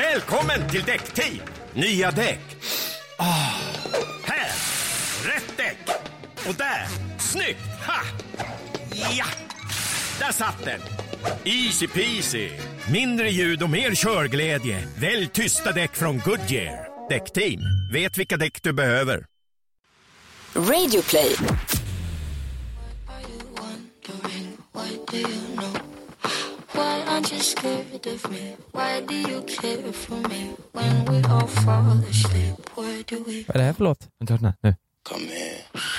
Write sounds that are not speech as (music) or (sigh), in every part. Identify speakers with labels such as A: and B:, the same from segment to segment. A: Välkommen till Däckteam! Nya däck. Ah. Här! Rätt däck! Och där! Snyggt! Ha! Ja! Där satt den! Easy peasy! Mindre ljud och mer körglädje. Välj tysta däck från Goodyear. Däckteam. Vet vilka däck du behöver.
B: Radio play.
C: Are you wondering what do you know? Why aren't you scared of me? Why do you care for me? When we all fall asleep, where do we
D: Vad är det här för låt?
E: Vänta, hörna, nu.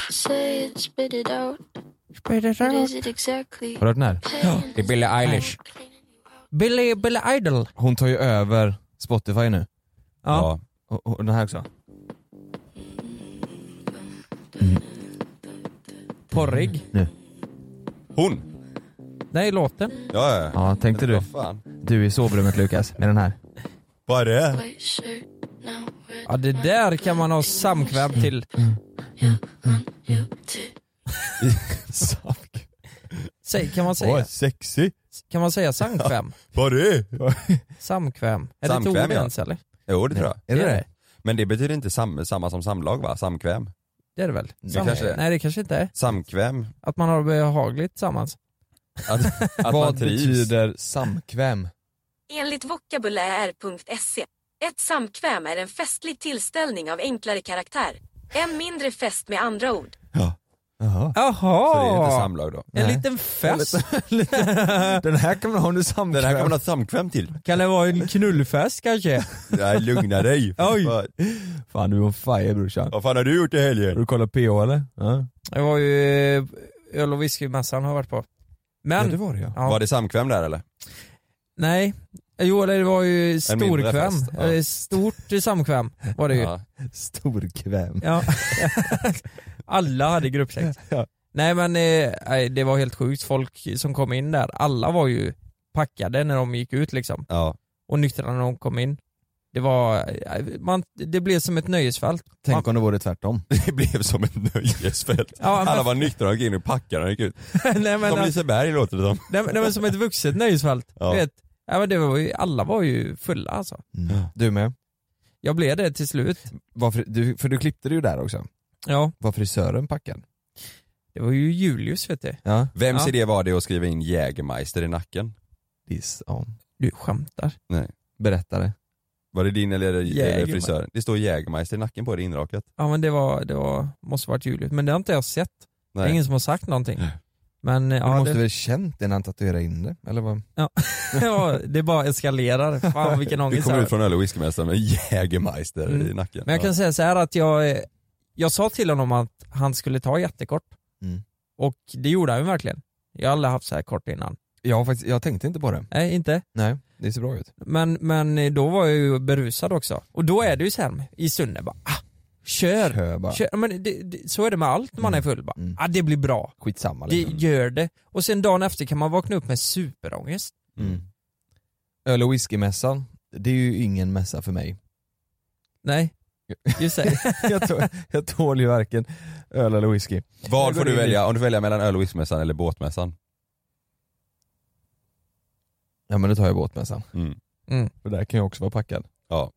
C: say it, spit it out? What is it exactly?
E: Har du hört den här?
C: Pain
F: Det är Billie Eilish.
D: Billy, Billy Idol.
E: Hon tar ju över Spotify nu.
D: Ja.
E: Och, och den här också. Mm.
D: Porrig.
F: Hon?
D: Nej, låten.
F: Ja, ja. ja.
E: Ja, tänkte du.
F: Vad fan?
E: Du i sovrummet Lukas, med den här.
F: Vad är det?
C: white shirt, now we're
D: Ja, det där kan man ha samkväm till.
C: you too.
D: Säg, kan man
F: Åh,
D: säga,
F: sexy.
D: kan man säga samkväm?
F: Vad är det?
D: Samkväm. Är det ett
F: Samkväm,
D: ord
F: ja.
D: ens eller?
F: Jo, det tror jag.
E: Är det det?
F: Men det betyder inte sam, samma som samlag va? Samkväm?
D: Det är det väl?
F: Det kanske det är.
D: Nej, det kanske inte är.
F: Samkväm?
D: Att man har det behagligt tillsammans.
E: (laughs)
F: Att, att man
E: Vad
F: trivs.
E: betyder samkväm?
G: Enligt vokabulär.se. E. Ett samkväm är en festlig tillställning av enklare karaktär. En mindre fest med andra ord.
E: Jaha.
D: Jaha!
F: Så det är inte samlag då?
D: En
E: Nej.
D: liten fest.
E: Den här kan man ha under samkväm.
F: Den här kommer man ha samkväm till.
D: Kan det vara en knullfest kanske?
F: Nej, lugna dig.
E: (laughs) Oj.
F: Vad-
E: Fan du är on fire brorsan.
F: Vad fan har du gjort i
E: Har
F: helgen?
E: du kollat PH eller? Ja.
D: Det var ju eh, öl och whiskymässan har jag varit på. Men,
E: ja det var det ja.
D: Ja.
F: Var det samkväm där eller?
D: nej. Jo eller det var ju storkväm.
F: fest, ja.
D: Eller Stort samkväm var det ju.
F: Ja.
E: Storkväm.
D: Ja. (laughs) alla hade gruppsex.
E: (laughs) Ja.
D: Nej men eh, nej, det var helt sjukt, folk som kom in där, alla var ju packade när de gick ut liksom.
F: ja. (laughs)
D: Och nyktra när de kom in. Det var, eh, man, det blev som ett nöjesfält. (laughs) Man,
E: Tänk om det vore tvärtom.
F: Det blev som ett nöjesfält.
D: Ja, men-
F: Alla var nyktra och gick in och packade och gick ut.
D: nej, men,
F: Som
D: nej,
F: Liseberg låter det som.
D: men- nej men som ett vuxet nöjesfält.
F: Ja.
D: Du vet, ja, men det var ju, alla var ju fulla alltså.
E: Du med.
D: Jag blev det till slut.
E: Varför, du, för du klippte det ju där också.
D: Ja,
E: Var frisören packad?
D: det var ju Julius vet du.
E: Ja.
F: Vems
D: Ja.
F: idé var det att skriva in Jägermeister i nacken?
E: Diss om.
D: Du skämtar.
E: Berätta det.
F: Var det din eller, eller
D: Jägermeister.
F: frisören? Det står Jägermeister i nacken på det inrakat.
D: Ja men det var, det var, måste varit Julius. Men det har inte jag sett. Det är
F: Nej.
D: ingen som har sagt någonting. Men eh,
E: du
D: ja,
E: måste
D: det,
E: väl känt innan han tatuerade in det? Eller vad?
D: (laughs) ja, det bara eskalerar. Fan
F: (laughs)
D: vilken
F: Du
D: ångest jag
F: kommer
D: har.
F: ut från öl och whiskymästaren med Jägermeister
D: Mm.
F: i nacken.
D: Men jag kan
F: Ja.
D: säga så här att jag, eh, jag sa till honom att han skulle ta jättekort.
E: Mm.
D: Och det gjorde han ju verkligen. Jag har aldrig haft så här kort innan.
E: Jag, har faktiskt, jag tänkte inte på det.
D: Nej inte.
E: Nej, det ser bra ut.
D: Men, men eh, då var jag ju berusad också. Och då är det ju så här i stunden bara ah, kör. kör.
E: Kö bara.
D: Ja, Men det, det, så är det med allt när man är full bara.
E: Mm.
D: Ah, det blir bra.
E: Skitsamma
D: Det
E: liksom.
D: gör det. Och sen dagen efter kan man vakna upp med superångest.
E: Mm. Öl och whiskymässan, det är ju ingen mässa för mig.
D: Nej, just det.
E: (laughs) jag, tål, jag tål ju varken öl eller whisky.
F: Vad
D: Jag
F: får
D: går
F: du
D: in i-
F: välja? Om du väljer mellan öl och whiskymässan eller båtmässan?
E: Ja men då tar jag båtmässan.
F: Mm.
E: För där kan jag också vara packad.
F: Ja.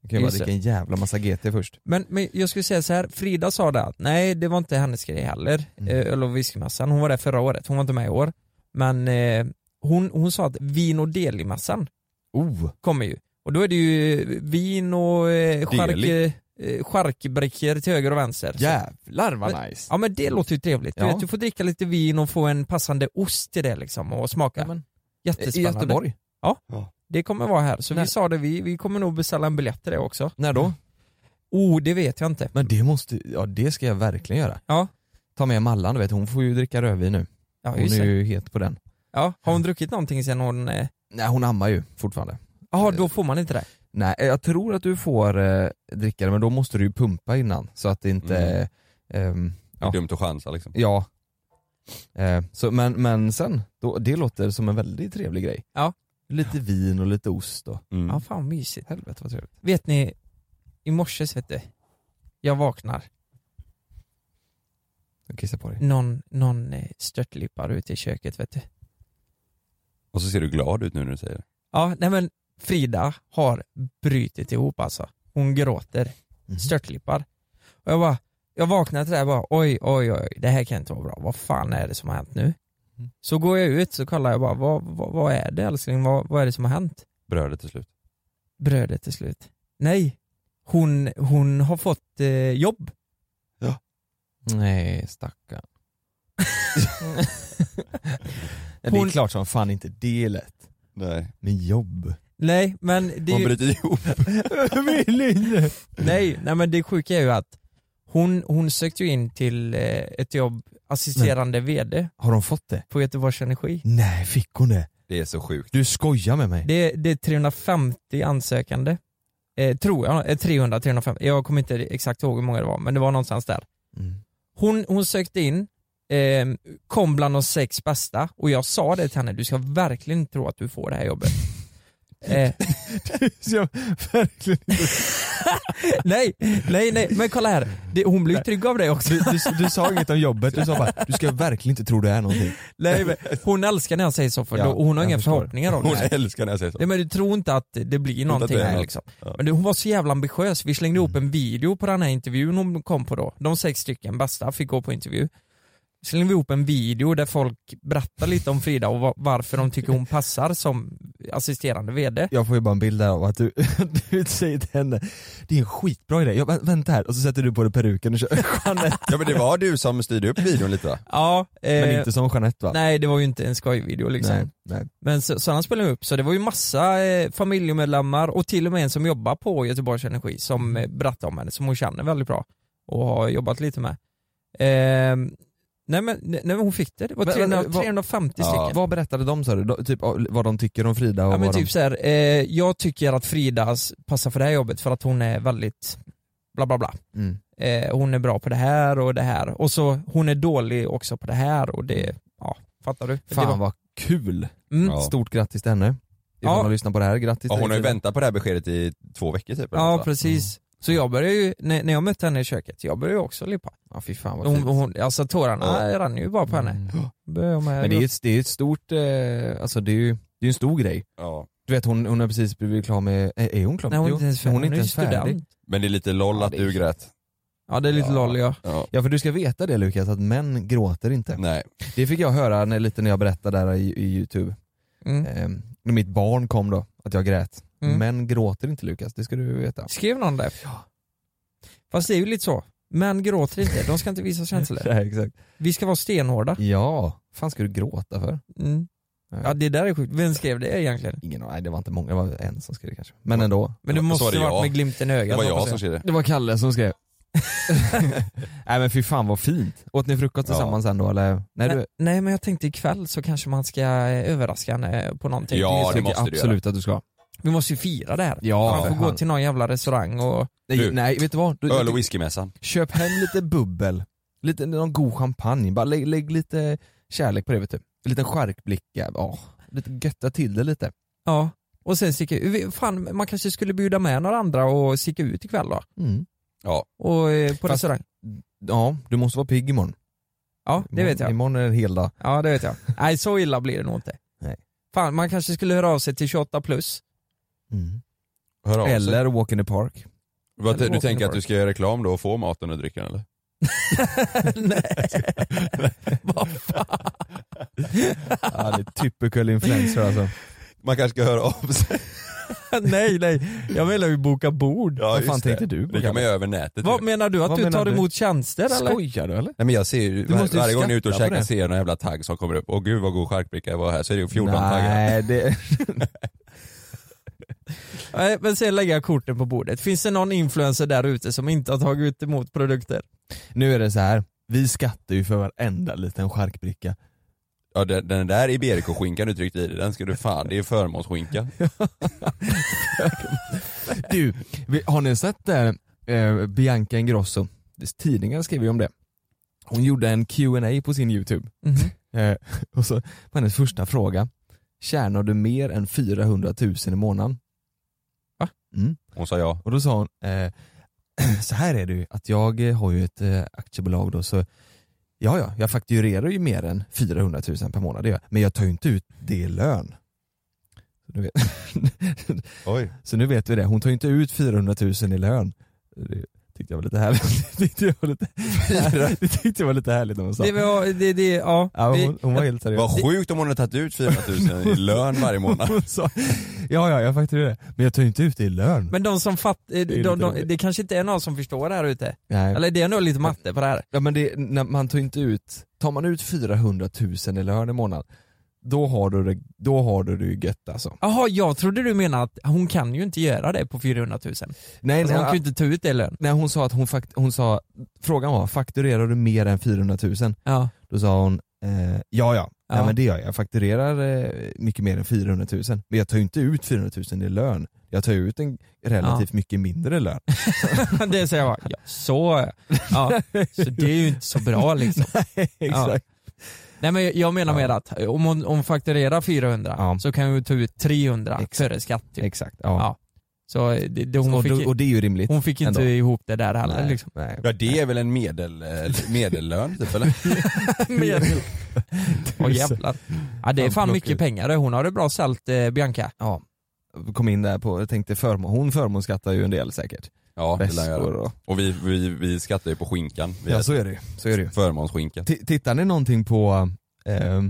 E: Jag kan ju bara
D: Just
E: dricka en jävla massa GT först.
D: Men, men jag skulle säga så här, Frida sa det att nej det var inte hennes grej heller,
E: Mm.
D: eh, öl och whiskymässan. Hon var där förra året, hon var inte med i år. Men eh, hon, hon sa att vin och delimässan
E: Oh!
D: kommer ju. Och då är det ju vin och eh,
F: Deli.
D: chark, eh, charkbrickor till höger och vänster. Så-
E: Jävlar
D: Men-
E: vad nice!
D: Ja men det låter ju trevligt. Du,
E: Ja.
D: vet, du får dricka lite vin och få en passande ost till det liksom och smaka.
E: Ja, men- eh, I
D: Jättespännande.
E: Göteborg?
D: Det kommer vara här, så
E: Nej.
D: vi sa det, vi, vi kommer nog beställa en biljett till det också.
E: När då?
D: Oh, det vet jag inte.
E: Men det måste, ja det ska jag verkligen göra.
D: Ja.
E: Ta med Mallan du vet, hon får ju dricka rödvin nu.
D: Ja,
E: Hon
D: just
E: är
D: det.
E: ju het på den.
D: Ja, har hon druckit någonting sen hon... eh,
E: Nej hon ammar ju fortfarande.
D: Jaha, då får man inte det.
E: Nej eh, jag tror att du får eh, dricka det men då måste du ju pumpa innan så att det inte...
F: Mm.
E: ehm,
F: Det är
E: Ja.
F: dumt att chansa liksom.
E: Ja. Eh, så, men, men sen, då, det låter som en väldigt trevlig grej.
D: Ja.
E: Lite vin och lite ost och
F: Mm.
D: Ja, fan mysigt.
E: helvete vad trevligt.
D: Vet ni, i morse vet du, jag vaknar,
E: Jag kissar på dig.
D: någon, någon eh, störtlippar ute i köket vet du.
F: Och så ser du glad ut nu när du säger det.
D: Ja, nej men Frida har brutit ihop alltså. Hon gråter, störtlippar. Och jag bara, jag vaknade till det här och bara oj, oj, oj, det här kan inte vara bra. Vad fan är det som har hänt nu? Så går jag ut så kollar jag bara, vad, vad, vad är det älskling? Vad, vad är det som har hänt?
F: Brödet till slut.
D: Brödet till slut. Nej, hon, hon har fått eh, jobb.
E: Nej, stackarn. Ja, det är
D: Hon-
E: klart som fan inte det är lätt.
F: Nej.
E: Med jobb.
D: Nej, men det är
F: Hon
D: ju...
F: bryter ihop.
D: Nej, nej men det sjuka är ju att hon, hon sökte ju in till eh, ett jobb, assisterande VD
E: Har de fått det?
D: på Göteborgs Energi.
E: Nej, fick hon det?
F: Det är så sjukt.
E: Du skojar med mig?
D: Det, det är 350 ansökande, eh, tror jag, eh, 300-350, jag kommer inte exakt ihåg hur många det var, men det var någonstans där.
E: Mm.
D: Hon, hon sökte in, eh, kom bland de sex bästa och jag sa det till henne, du ska verkligen inte tro att du får det här jobbet. Eh,
E: Jag, verkligen.
D: (laughs) nej, nej, nej, men kolla här, det, hon blev ju trygg av det också.
E: Du, du, du sa inget om jobbet, du sa bara du ska verkligen inte tro det är någonting.
D: Nej, men hon älskar när jag säger så för
E: Ja,
D: då, och hon har
E: jag
D: inga
E: förstår.
D: förhoppningar om
F: Hon
D: det. här.
F: älskar när jag säger så.
D: Nej men du tror inte att det blir
F: att
D: någonting
F: det är
D: här
F: något.
D: liksom.
F: Ja.
D: Men det, hon var så jävla ambitiös, vi slängde ihop en video på den här intervjun hon kom på då. De sex stycken bästa fick gå på intervju. Slängde vi ihop en video där folk berättar lite om Frida och va- varför de tycker hon passar som assisterande VD.
E: Jag får ju bara en bild där av att du, (laughs) du säger till henne, det är en skitbra idé, jag, bara, vänta här, och så sätter du på dig peruken och kör (laughs) Jeanette.
F: Ja men det var du som styrde upp videon lite va?
D: Ja, eh,
E: Men inte som Jeanette va?
D: nej det var ju inte en skojvideo liksom.
E: nej, nej.
D: Men så, så han spelade upp, så det var ju massa eh, familjemedlemmar och till och med en som jobbar på Göteborgs Energi
E: Mm.
D: som eh, berättade om henne, som hon känner väldigt bra och har jobbat lite med. Ehm, nej, men, nej men hon fick det, det var
E: Men-
D: 300,
E: men vad-
D: 350
F: Ja.
D: stycken.
E: Vad berättade de sa du? De- Typ av- vad de tycker om Frida och
D: Ja men
E: vad
D: typ
E: de...
D: såhär, eh, jag tycker att Frida s- passar för det här jobbet för att hon är väldigt bla bla bla.
E: Mm.
D: Eh, hon är bra på det här och det här och så hon är dålig också på det här och det, ja fattar du? Det var-
E: Fan vad kul!
D: mm.
F: Ja.
E: Stort grattis till henne. Ifall
D: Ja.
E: hon lyssnar på det här, grattis
F: Ja,
E: till
F: hon har ju
E: Frida.
F: väntat på det här beskedet i två veckor typ. eller
D: Ja
F: något, va?
D: precis. Så jag började ju, när, när jag mötte henne i köket, jag började ju också lippa.
E: Ja fy fan vad
D: Hon,
E: fint.
D: hon, alltså tårarna
F: Ja.
D: rann ju bara på henne.
E: Mm.
D: Började jag med-
E: Men det är ju ett, det är ju ett stort, eh, alltså det är ju det är ju en stor grej.
F: Ja.
E: Du vet hon, hon har precis blivit klar med, är är hon klar?
D: Nej, hon är
E: Jo,
D: inte ens färdig.
E: Hon är inte ens
D: ju
E: färdig.
D: student.
F: Men det är lite loll
E: Ja,
F: att
E: det är-
F: du grät.
D: Ja det är lite
F: Ja.
D: loll ja.
F: Ja.
E: Ja för du ska veta det Lukas, att män gråter inte.
F: Nej.
E: Det fick jag höra när, lite när jag berättade där i, i youtube.
D: Mm.
E: Eh, när mitt barn kom då, att jag grät.
D: Mm.
E: Män gråter inte Lukas, det ska du
D: (laughs)
E: veta.
D: Skrev någon det? Fast det är ju lite så, män gråter inte, de ska inte visa
F: (laughs)
D: känslor.
E: Nej, exakt.
D: Vi ska vara stenhårda.
E: Ja, fan ska du gråta för? Eh,
D: Mm. Ja det där är sjukt, vem skrev det egentligen?
E: Ingen aning, nej det var inte många, det var en som skrev det kanske. Men ändå.
D: Men det
F: Så var
D: måste
F: det
D: ha varit
F: jag.
D: med glimten i
F: Det
D: ögat
F: var jag
D: hoppas
F: som skrev det.
E: Det var Kalle som skrev. (laughs) nej men fy fan vad fint. Åt ni frukost
F: Ja.
E: tillsammans sen då eller? Nej, du,
D: Nej, nej men jag tänkte ikväll så kanske man ska eh, överraska henne på någonting.
F: Ja, det
E: tycker
F: måste
E: jag
F: du göra.
E: absolut att du ska.
D: Vi måste ju fira det här.
E: Ja,
D: Man
E: för
D: får gå
E: fan.
D: till någon jävla restaurang och
E: Nej,
F: Du.
E: nej vet du vad? Du,
F: Öl och whiskymässan.
E: köp hem lite bubbel, lite, någon god champagne, bara lägg, lägg lite kärlek på det vet du. En liten charkblicka, ja. Lite götta till det lite.
D: Ja, och sen sticka vi- Fan, man kanske skulle bjuda med några andra och sticka ut ikväll då?
E: Mm.
D: Och eh, på
E: Fast-
D: restaurang?
E: Ja, du måste vara pigg imorgon.
D: Ja,
E: Mm.
D: det vet jag.
E: Imorgon är det en hel dag.
D: Ja, det vet
E: (laughs)
D: jag. Nej, så illa blir det nog inte.
E: Nej.
D: Fan, man kanske skulle höra av sig till 28 plus.
E: Mm.
F: Hör av sig.
E: Eller walk in the park.
F: Vad-
D: eller
F: Du
D: walk in the
F: tänker
D: park.
F: att du ska göra reklam då och få maten och drycken eller?
D: Nej, vad fan.
E: Ja, det är typical influencer (laughs) alltså.
F: Man kanske ska höra av sig.
D: nej, nej. Jag vill ju boka bord.
F: Ja,
E: Vad fan
F: just
E: tänkte du på?
F: Det kan man göra över nätet.
D: Vad
F: typ.
D: menar du? Att
E: Vad
D: du
E: menar
D: tar
E: du?
D: emot tjänster eller?
E: Skojar du eller?
F: Nej men jag ser ju,
E: Du måste ju
F: varje gång jag är ute och
E: skatta på
F: käkar
E: det.
F: ser jag någon jävla tagg som kommer upp. Åh gud vad god charkbricka jag var här. Så är det ju 14 taggar.
E: Nej, det...
D: Nej, men sen lägger jag korten på bordet. Finns det någon influencer där ute som inte har tagit emot produkter?
E: Nu är det så här. vi skattar ju för varenda liten charkbricka.
F: Ja, den, den där Iberico-skinkan du tryckte i dig, den ska du fan, det är förmånsskinka.
E: Du, vi- har ni sett där eh, Bianca Ingrosso? Tidningen skriver ju om det. Hon gjorde en Q&A på sin youtube.
D: Mhm.
E: Eh, och så var hennes första fråga, tjänar du mer än 400 000 i månaden?
D: Va?
E: Mm.
F: Hon sa ja.
E: Och då sa hon, eh, (clears throat) så här är det ju, att jag eh, har ju ett eh, aktiebolag då så ja ja, jag fakturerar ju mer än 400 000 per månad det gör jag, men jag tar ju inte ut det i lön. Så du vet. (laughs)
F: Oj.
E: Så nu vet vi det, hon tar ju inte ut 400 000 i lön. Det tyckte jag var lite härligt. (laughs) Det tyckte jag var lite, (laughs) det tyckte jag var lite härligt när hon sa.
D: Det, var, det, det, ja.
E: Ja,
D: vi-
E: hon, hon var helt seriös.
F: Vad sjukt om hon hade tagit ut 400 000 i lön varje månad.
E: (laughs) Hon sa, ja ja, jag fakturerar det. Men jag tar ju inte ut det i lön.
D: Men de som fattar, de,
E: lite
D: de,
E: roligt.
D: det kanske inte är någon som förstår det här ute.
E: Nej.
D: Eller det är nog lite matte på det här.
E: Ja men det, när man tar inte ut, tar man ut 400 000 i lön i månaden, då har du det, då har du det ju gött alltså.
D: Jaha, jag trodde du menade att hon kan ju inte göra det på 400 000. Alltså
E: Nej,
D: hon kan ju
E: nej,
D: inte ta ut det i lön.
E: nej hon sa att hon, fakt, hon sa, frågan var fakturerar du mer än 400 000?
D: Ja.
E: Då sa hon, eh, ja ja, ja.
D: Ja.
E: men det gör jag. Jag fakturerar eh, mycket mer än 400 000. Men jag tar ju inte ut 400 000 i lön. Jag tar ju ut en relativt mycket mindre lön.
D: (laughs) det säger jag bara, ja, så ja. Så det är ju inte så
E: (laughs)
D: bra liksom.
E: Exakt.
D: Nej men jag menar mer att om hon, om hon fakturerar 400
E: Ja.
D: så kan hon ju ta ut 300
E: Exakt.
D: före skatt typ.
E: Exakt. Ja.
D: Ja. Så det, det, hon,
E: och,
D: fick,
E: då- och det är ju rimligt.
D: hon fick inte
E: ändå.
D: ihop det där heller
E: Nej,
D: liksom. (laughs)
E: nej.
F: Ja det är väl en medel, eh, medellön typ eller?
E: (laughs)
D: Medel. Åh jävlar. Ja det är fan mycket pengar hon har det bra salt eh, Bianca.
E: Ja. Kom in där på, jag tänkte förmån, hon förmånsskattar ju en del säkert.
F: Ja det lär jag
E: Väskor
F: göra.
E: och...
F: Och vi, vi, vi skattar ju på skinkan. Vi
E: Ja
F: äter
E: så är det ju. Så är det ju.
F: förmånsskinka.
E: T- tittar ni någonting på eh,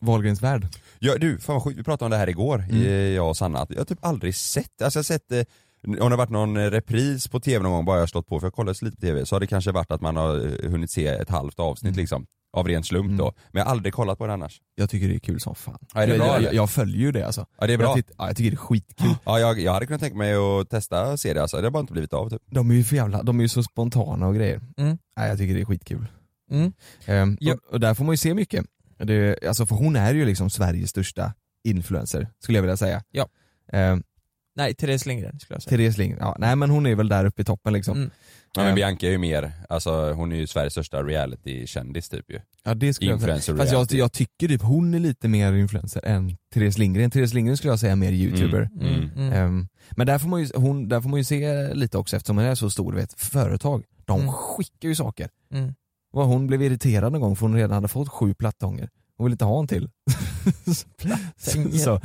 E: Wahlgrens värld?
F: Ja, du, fan vad sjukt, vi pratade om det här igår,
E: Mm.
F: eh, jag och Sanna, att jag har typ aldrig sett, alltså jag har sett eh, om det har varit någon eh, repris på tv någon gång bara jag har slått på, för jag kollade så lite på tv, så har det kanske varit att man har eh, hunnit se ett halvt avsnitt
E: Mm.
F: liksom, av ren slump
E: Mm.
F: då. Men jag har aldrig kollat på det annars.
E: Jag tycker det är kul som fan.
F: Ja, är det
E: jag,
F: bra, eller?
E: jag, jag följer ju det alltså.
F: Ja det är bra.
E: Jag, titt- ja, jag tycker det är skitkul.
F: Ja, jag, jag hade kunnat tänka mig att testa att se det alltså, det har bara inte blivit av typ.
E: De är ju för jävla, de är ju så spontana och grejer.
D: Mm.
E: Nej, jag tycker det är skitkul.
D: Mm.
E: Ehm,
D: Ja.
E: och, och där får man ju se mycket. Det, alltså för hon är ju liksom Sveriges största influencer, skulle jag vilja säga.
D: Ja.
E: Ehm,
D: Nej Therese Lindgren skulle jag säga.
E: Therese Lindgren, ja, nej men hon är väl där uppe i toppen liksom.
D: Mm.
F: Ja, men
E: Ehm.
F: Bianca är ju mer, alltså hon är ju Sveriges största reality-kändis typ ju.
E: Ja det skulle jag säga.
F: Influencer
E: Fast jag,
F: reality.
E: jag tycker typ hon är lite mer influencer än Therese Lindgren. Therese Lindgren skulle jag säga är mer youtuber.
D: Mm. Mm.
E: Ehm, men där får, man ju, hon, där får man ju se lite också eftersom hon är så stor, du vet, företag. De
D: Mm.
E: skickar ju saker.
D: Mm.
E: Vad hon blev irriterad någon gång för hon redan hade fått sju plattånger. Hon ville inte ha en till. (laughs) så,
D: Plattånger.
E: så.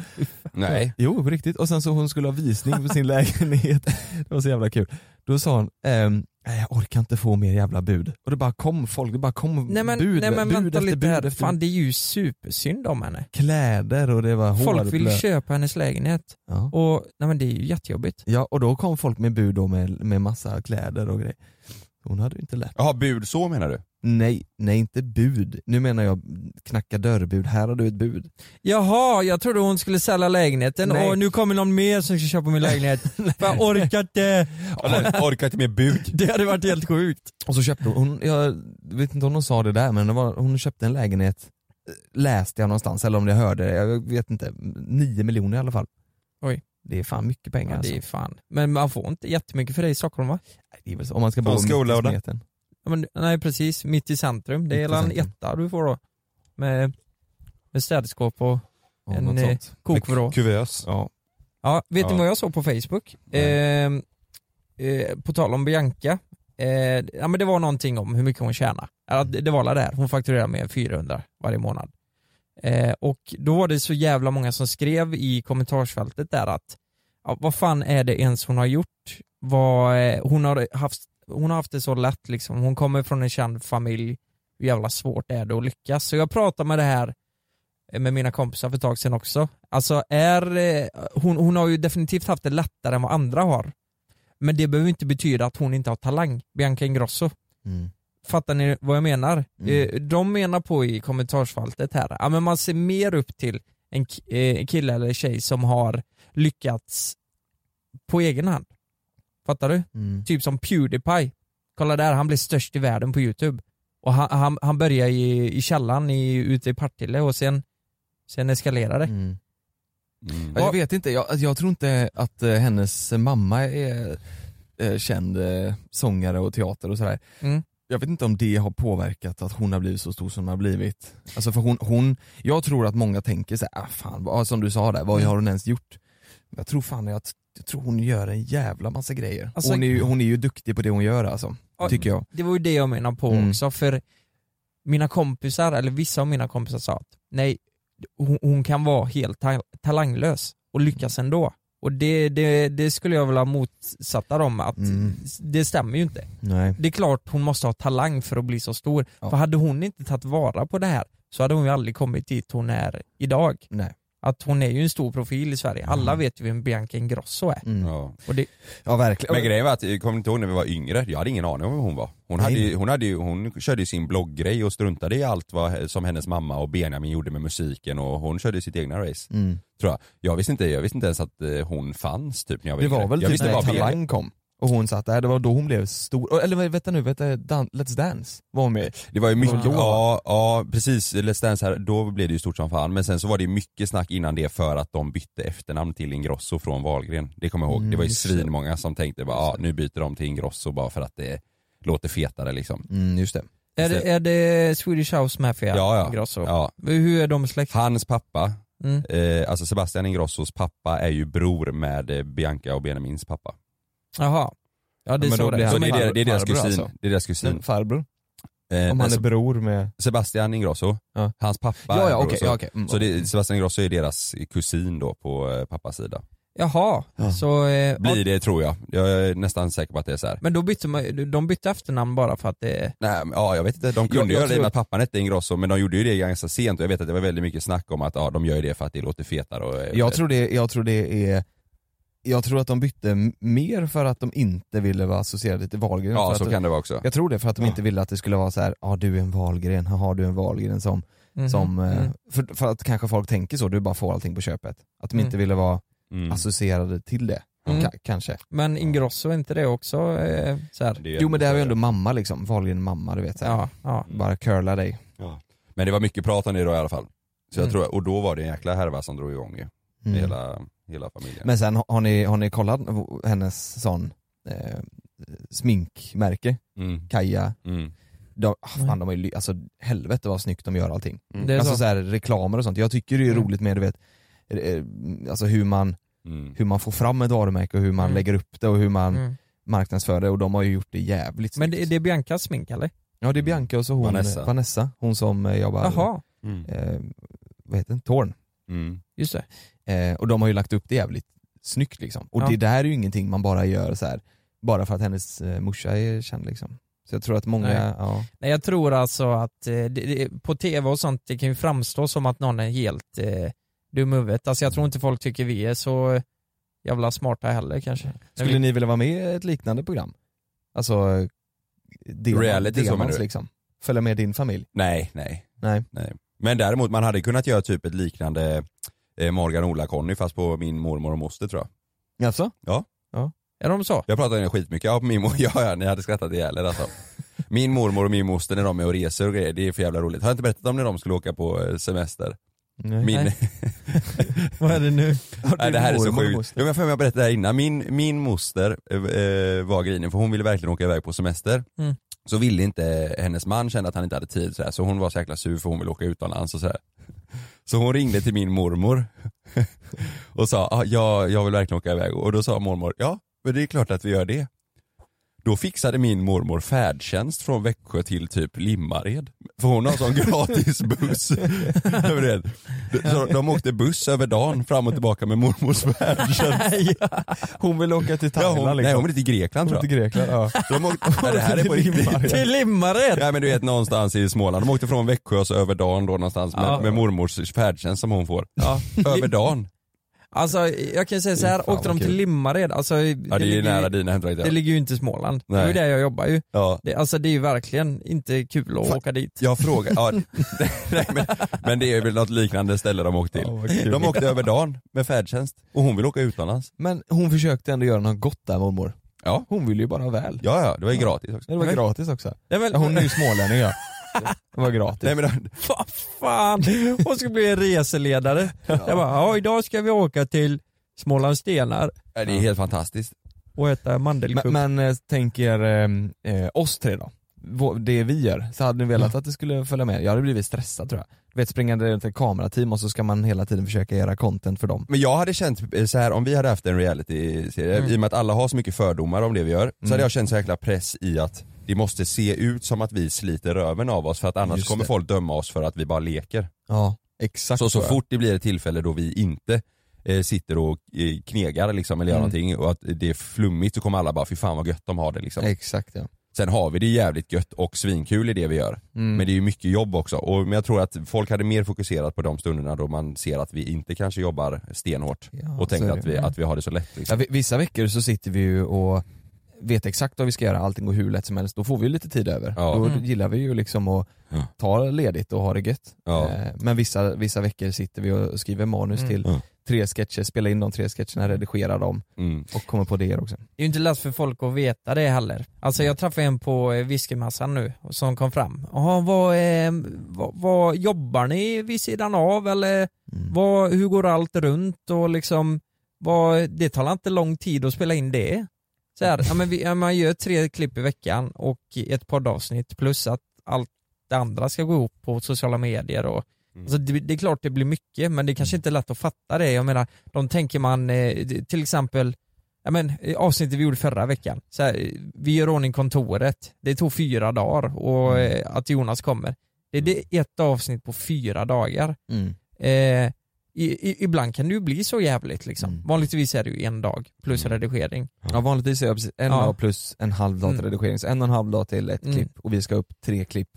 F: Nej.
E: Jo, på riktigt. Och sen så hon skulle ha visning på sin (laughs) lägenhet. Det var så jävla kul. Då sa hon, ehm, "Nej, jag orkar inte få mer jävla bud. Och det bara kom folk, det bara kom
D: Nej men,
E: bud,
D: nej, men
E: bud
D: vänta
E: efter
D: lite
E: bud
D: här,
E: efter
D: fan det är ju supersynd om henne.
E: kläder och det var hår.
D: Folk vill
E: blö-
D: köpa hennes lägenhet
E: ja.
D: och nej men det är ju jättejobbigt.
E: ja, och då kom folk med bud då med, med massa kläder och grejer. Hon hade ju inte lätt.
F: Jaha, bud så menar du?
E: Nej, nej inte bud. Nu menar jag knacka dörrbud. Här har du ett bud.
D: Jaha, jag trodde hon skulle sälja lägenheten
E: Nej.
D: och nu kommer någon mer som ska
E: (laughs)
D: köpa min lägenhet. För jag orkar inte.
F: Eller, orkar inte med
E: (laughs)
F: bud?
D: Det hade varit helt sjukt.
E: Och så köpte hon, hon jag vet inte om hon sa det där, men det var, hon köpte en lägenhet, eh, läste jag någonstans, eller om jag hörde det, jag vet inte. nio miljoner i alla fall.
D: Oj.
E: Det är fan mycket pengar
D: Ja, det är
E: alltså.
D: fan. Men man får inte jättemycket för det i Stockholm va?
E: Nej, det är väl så. Om man ska
F: Från
E: bo mitt i
F: skolåda.
E: smeten.
D: Ja, men, nej precis, mitt i centrum. Det
E: Mitt i
D: är en
E: centrum.
D: etta du får då. Med, med städskåp och
E: Ja,
D: En,
E: något
D: eh,
E: sånt.
D: kokvrå.
F: Kuvös.
E: Ja.
D: Ja, vet ni
F: Ja.
D: vad jag såg på Facebook? Ehm, eh, på tal om Bianca, eh, ja, men det var någonting om hur mycket hon tjänar. Ja, det, det var alla där, hon fakturerar med 400 varje månad. Eh, och då var det så jävla många som skrev i kommentarsfältet där att ja, vad fan är det ens hon har gjort? Vad, eh, hon, har haft, hon har haft det så lätt liksom, hon kommer från en känd familj, hur jävla svårt är det att lyckas? Så jag pratade med det här eh, med mina kompisar för ett tag sedan också. Alltså är, eh, hon, hon har ju definitivt haft det lättare än vad andra har. Men det behöver inte betyda att hon inte har talang, Bianca Ingrosso.
E: Mm.
D: Fattar ni vad jag menar?
E: Mm.
D: Eh, De menar på i kommentarsfältet här, ja, men man ser mer upp till en k- eh, kille eller tjej som har lyckats på egen hand. Fattar du?
E: Mm.
D: Typ som Pewdiepie. Kolla där, han blev störst i världen på YouTube. Och han, han, han började i, i källaren i, ute i Partille och sen, sen eskalerade det.
E: Mm.
F: Mm.
E: Ja, jag vet inte, jag, alltså, jag tror inte att eh, hennes mamma är eh, känd eh, sångare och teater och sådär.
D: Mm.
E: Jag vet inte om det har påverkat att hon har blivit så stor som hon har blivit. Alltså för hon, hon jag tror att många tänker såhär, ah, fan, vad, som du sa där,
D: Mm.
E: vad har hon ens gjort? Jag tror fan att jag tror hon gör en jävla massa grejer.
D: Alltså-
E: hon, är ju, hon är ju duktig på det hon gör alltså,
D: Ja.
E: tycker jag.
D: det var ju det jag menade på
E: Mm.
D: också, för mina kompisar, eller vissa av mina kompisar sa att nej, hon, hon kan vara helt ta- talanglös. och lyckas
E: Mm.
D: ändå. Och det, det, det skulle jag vilja motsätta dem att
E: Mm.
D: det stämmer ju inte.
E: Nej.
D: Det är klart hon måste ha talang för att bli så stor.
E: Ja.
D: För hade hon inte tagit vara på det här så hade hon ju aldrig kommit dit hon är idag.
E: Nej.
D: Att hon är ju en stor profil i Sverige. Alla vet ju vem Bianca Ingrosso är.
E: Mm. Ja.
F: Ja.
D: Och det,
E: verkligen.
F: Men grejen var att, kommer ni inte ihåg när vi var yngre? Jag hade ingen aning om vem hon var. Hon, hade
E: Nej.
F: ju, hon, hade ju, hon körde ju sin blogggrej och struntade i allt vad, som hennes mamma och Benjamin gjorde med musiken och hon körde ju sitt egna race.
E: Mm.
F: Tror jag. Jag, visste inte, jag visste inte ens att eh, hon fanns typ när jag var
E: Det
F: yngre.
E: var väl
F: jag
E: typ
F: visste
E: när
F: bara Bianca-
E: Talang kom och hon satt där, det var då hon blev stor. Eller vad- vänta nu, vänta, dan Let's Dance var hon med
F: Det var ju mycket,
E: Då, va?
F: ja, ja precis, Let's Dance här, då blev det ju stort som fan. Men sen så var det ju mycket snack innan det för att de bytte efternamn till Ingrosso från Wahlgren. Det kommer jag ihåg,
E: Mm,
F: det var ju
E: just det.
F: svinmånga som tänkte bara, ja, nu byter de till Ingrosso bara för att det låter fetare liksom.
E: Mm, just det.
D: är, det, är det Swedish House Mafia
F: Ja, ja.
D: E Ingrosso?
F: Ja.
D: Hur är de släkt?
F: Hans pappa,
D: Mm.
F: eh, alltså Sebastian Ingrossos pappa är ju bror med eh, Bianca och Benjamins pappa.
D: Jaha. Ja det är
E: men då
D: så
E: blir
D: det
E: han-
F: Så
D: är.
F: det är,
E: farbror-
F: det är deras
E: farbror
F: kusin.
E: alltså?
F: Det är deras kusin.
E: Men farbror,
F: Eh,
E: om
F: men
E: han är
F: Se-
E: bror med...
F: Sebastian Ingrosso,
E: Ja.
F: hans pappa
E: Ja,
F: är
E: ja,
F: bror
E: okej,
F: så.
E: ja, okej. Mm,
F: Så
E: okej.
F: det, Sebastian Ingrosso är deras kusin då på eh, pappas sida.
D: Jaha.
E: Ja.
D: Så, eh, ja,
F: Blir det tror jag. Jag är nästan säker på att det är så här.
D: men då bytte man, de bytte efternamn bara för att det
F: Nej, men, ja, jag vet inte. De
E: Jag- jag
F: kunde göra det
E: tror-
F: med att pappan hette Ingrosso, men de gjorde ju det ganska sent och jag vet att det var väldigt mycket snack om att ja, de gör ju det för att det låter fetare och... eh,
E: Jag tror det, jag tror det är... Jag tror att de bytte m- mer för att de inte ville vara associerade till Wahlgren.
F: Ja,
E: för
F: så
E: att,
F: kan det vara också.
E: Jag tror det, för att de
F: Ja.
E: inte ville att det skulle vara så här, ja ah, du är en Wahlgren, haha du är en Wahlgren som,
D: Mhm.
E: som eh,
D: Mm.
E: för, för att kanske folk tänker så, du bara får allting på köpet. Att de inte
D: Mm.
E: ville vara
F: Mm.
E: alltså, associerade till det,
D: Mm.
E: Ka- kanske.
D: Men Ingrosso är inte det också eh, så här.
F: är
E: Jo men det här är ju ändå mamma liksom, Wahlgren mamma du vet så här.
D: Ja, ja.
E: bara curla dig.
F: Men det var mycket prat om det då i alla fall. Så jag
D: Mm.
F: tror, och då var det en jäkla härva som drog igång ju.
E: Mm.
F: Hela, hela familjen.
E: Men sen har- har ni, har ni kollat hennes sån eh, sminkmärke,
F: Mm.
E: Kaja?
F: Mm.
E: De, ah, fan, de har ju, ly- alltså helvete vad snyggt de gör allting.
D: Det är
E: alltså
D: så.
E: så här, reklamer och sånt. Jag tycker det är
D: Mm.
E: roligt med du vet, eh, alltså hur man,
F: Mm.
E: hur man får fram ett varumärke och hör man
D: Mm.
E: lägger upp det och hur man
D: Mm.
E: marknadsför det och de har ju gjort det jävligt
D: Men
E: snyggt.
D: det, det är Biancas smink eller?
E: Ja det är Bianca och så hon
F: Vanessa.
E: Vanessa, hon som eh, jobbar,
D: Jaha,
F: Mm.
E: eh, vad heter den, Torn.
F: Mm.
D: just det.
E: Eh, och de har ju lagt upp det jävligt snyggt liksom. Och
D: Ja.
E: det där är ju ingenting man bara gör så här bara för att hennes eh, morsa är känd liksom. Så jag tror att många,
D: Nej.
E: ja.
D: Nej, jag tror alltså att eh, det, det, på tv och sånt, det kan ju framstå som att någon är helt eh, dum i huvudet. Alltså jag tror inte folk tycker vi är så jävla smarta heller kanske.
E: Skulle ni vilja vara med i ett liknande program? Alltså, eh, Demon-
F: Reality så menar
E: Demons
F: du?
E: liksom. Följa med din familj?
F: Nej, nej.
E: Nej.
F: Men däremot, man hade kunnat göra typ ett liknande eh, Morgan och Ola-Conny fast på min mormor och moster tror jag.
E: Jaså?
D: Är de så?
F: Jag pratar om det skitmycket, ja, på min mor, (laughs) ja, ja ni hade skrattat ihjäl er alltså. Min mormor och min moster när de är och reser och grejer, det är för jävla roligt. Har jag inte berättat om när de skulle åka på eh, semester?
E: Nej.
F: Min, (laughs)
D: Nej. Vad är det nu?
F: Nej, det här är så
E: Mormor och
F: sjukt.
E: moster.
F: Jo, men Jag får mig att berätta det här innan. Min, min moster eh, eh, var grinig för hon ville verkligen åka iväg på semester.
D: Mm.
F: Så ville inte hennes man kände att han inte hade tid så, här, så hon var så jäkla sur för hon ville åka utomlands och så här. Så hon ringde till min mormor (laughs) och sa ah, jag, jag vill verkligen åka iväg och då sa mormor ja men det är klart att vi gör det. Då fixade min mormor färdtjänst från Växjö till typ Limmared. För hon har sån (laughs) gratis buss. (laughs) över det. Så de åkte buss över dagen fram och tillbaka med mormors färdtjänst.
E: Hon vill åka till
F: Ja,
E: Thailand
F: hon,
E: liksom.
F: nej hon är till Grekland tror
E: Till
F: jag.
E: Grekland, ja.
F: Så De åkte, nej, det här (laughs) är på riktigt.
D: Till Limmared!
F: Nej men du vet någonstans i Småland. De åkte från Växjö och så över dagen då någonstans med,
D: Ja.
F: med mormors färdtjänst som hon får.
D: (laughs) Ja.
F: Över dagen.
D: Alltså jag kan ju säga så här,
E: Fy fan,
D: åkte de
E: vad
D: till
E: kul.
D: Limmared, alltså
F: Ja det är ju
D: ligger,
F: nära dina
D: det
F: hemtrakter.
D: ligger ju inte i Småland. Det är ju
F: Nej.
D: där jag jobbar ju.
F: Ja.
D: Det, alltså det är ju verkligen inte kul att
F: Fan.
D: åka dit.
F: Jag frågar, ja, (laughs) nej, men, men det är väl något liknande ställe de åkte till.
E: Ja, vad kul.
F: De åkte över dagen med färdtjänst och hon vill åka utomlands.
E: Men hon försökte ändå göra något gott där mormor.
F: Ja.
E: Hon ville ju bara ha väl.
F: Ja, ja, det var ju gratis också.
E: Det var
D: Men-
E: gratis också.
D: Nej, men,
E: Ja, Hon är ju smålänning ja. Det var gratis.
F: Nej, men, (laughs) de-
D: (laughs) Vad fan, hon ska bli en reseledare. Jag bara, ja idag ska vi åka till Smålands stenar
F: nej, det är helt fantastiskt.
D: och äta mandelkubb.
E: men, men eh, tänk er eh, eh, oss tre då. Vå- Det vi gör. Så hade ni velat att det skulle följa med? Jag hade blivit stressad tror jag. Du vet springa runt ett kamerateam och så ska man hela tiden försöka göra content för dem.
F: Men jag hade känt eh, så här om vi hade haft en realityserie,
E: Mm.
F: i och med att alla har så mycket fördomar om det vi gör, så hade jag känt så jäkla press i att det måste se ut som att vi sliter röven av oss för att annars
E: Just
F: kommer
E: det.
F: folk döma oss för att vi bara leker.
E: Ja, exakt
F: Så, så
E: tror jag.
F: fort det blir ett tillfälle då vi inte eh, sitter och eh, knegar liksom, eller gör
E: Mm.
F: någonting och att det är flummigt så kommer alla bara fy fan vad gött de har det liksom.
E: Exakt ja.
F: Sen har vi det jävligt gött och svinkul i det vi gör.
E: Mm.
F: Men det är ju mycket jobb också. Och, men jag tror att folk hade mer fokuserat på de stunderna då man ser att vi inte kanske jobbar stenhårt
E: Ja,
F: och
E: så
F: tänker
E: är
F: att
E: det. Mm.
F: vi, att vi har det så lätt. Liksom.
E: Ja, vi- vissa veckor så sitter vi ju och vet exakt vad vi ska göra, allting går hur lätt som helst. Då får vi ju lite tid över.
F: Ja.
E: Då
D: Mm.
E: gillar vi ju liksom att
F: Ja.
E: ta ledigt och ha det gött.
F: Ja.
E: Eh, Men vissa, vissa veckor sitter vi och skriver manus
D: Mm.
E: till
F: Ja.
E: tre sketcher, spelar in de tre sketcherna, redigerar dem
F: Mm.
E: och kommer på det också.
D: Det är ju inte lätt för folk att veta det heller. Alltså jag träffade en på eh, whiskymassan nu som kom fram. Jaha, vad, eh, vad, vad jobbar ni vid sidan av eller vad, hur går allt runt och liksom vad, det tar inte lång tid att spela in det. Så här, ja, men vi, ja, man gör tre klipp i veckan och ett poddavsnitt plus att allt det andra ska gå ihop på sociala medier och
F: Mm.
D: Alltså det, det är klart det blir mycket men det kanske inte är lätt att fatta det. Jag menar, de tänker man eh, till exempel Ja, men, eh, avsnittet vi gjorde förra veckan, så här, eh, vi gör ordning kontoret, det tog fyra dagar och eh, att Jonas kommer. Det, det är ett avsnitt på fyra dagar.
E: Mm.
D: Eh, i, i, ibland kan det ju bli så jävligt liksom.
E: Mm.
D: Vanligtvis är det ju en dag plus redigering.
E: Ja, vanligtvis är jag precis en
D: Ja.
E: dag plus en halv dag till
D: Mm.
E: redigering, så en och en halv dag till ett
D: Mm.
E: klipp och vi ska upp tre klipp.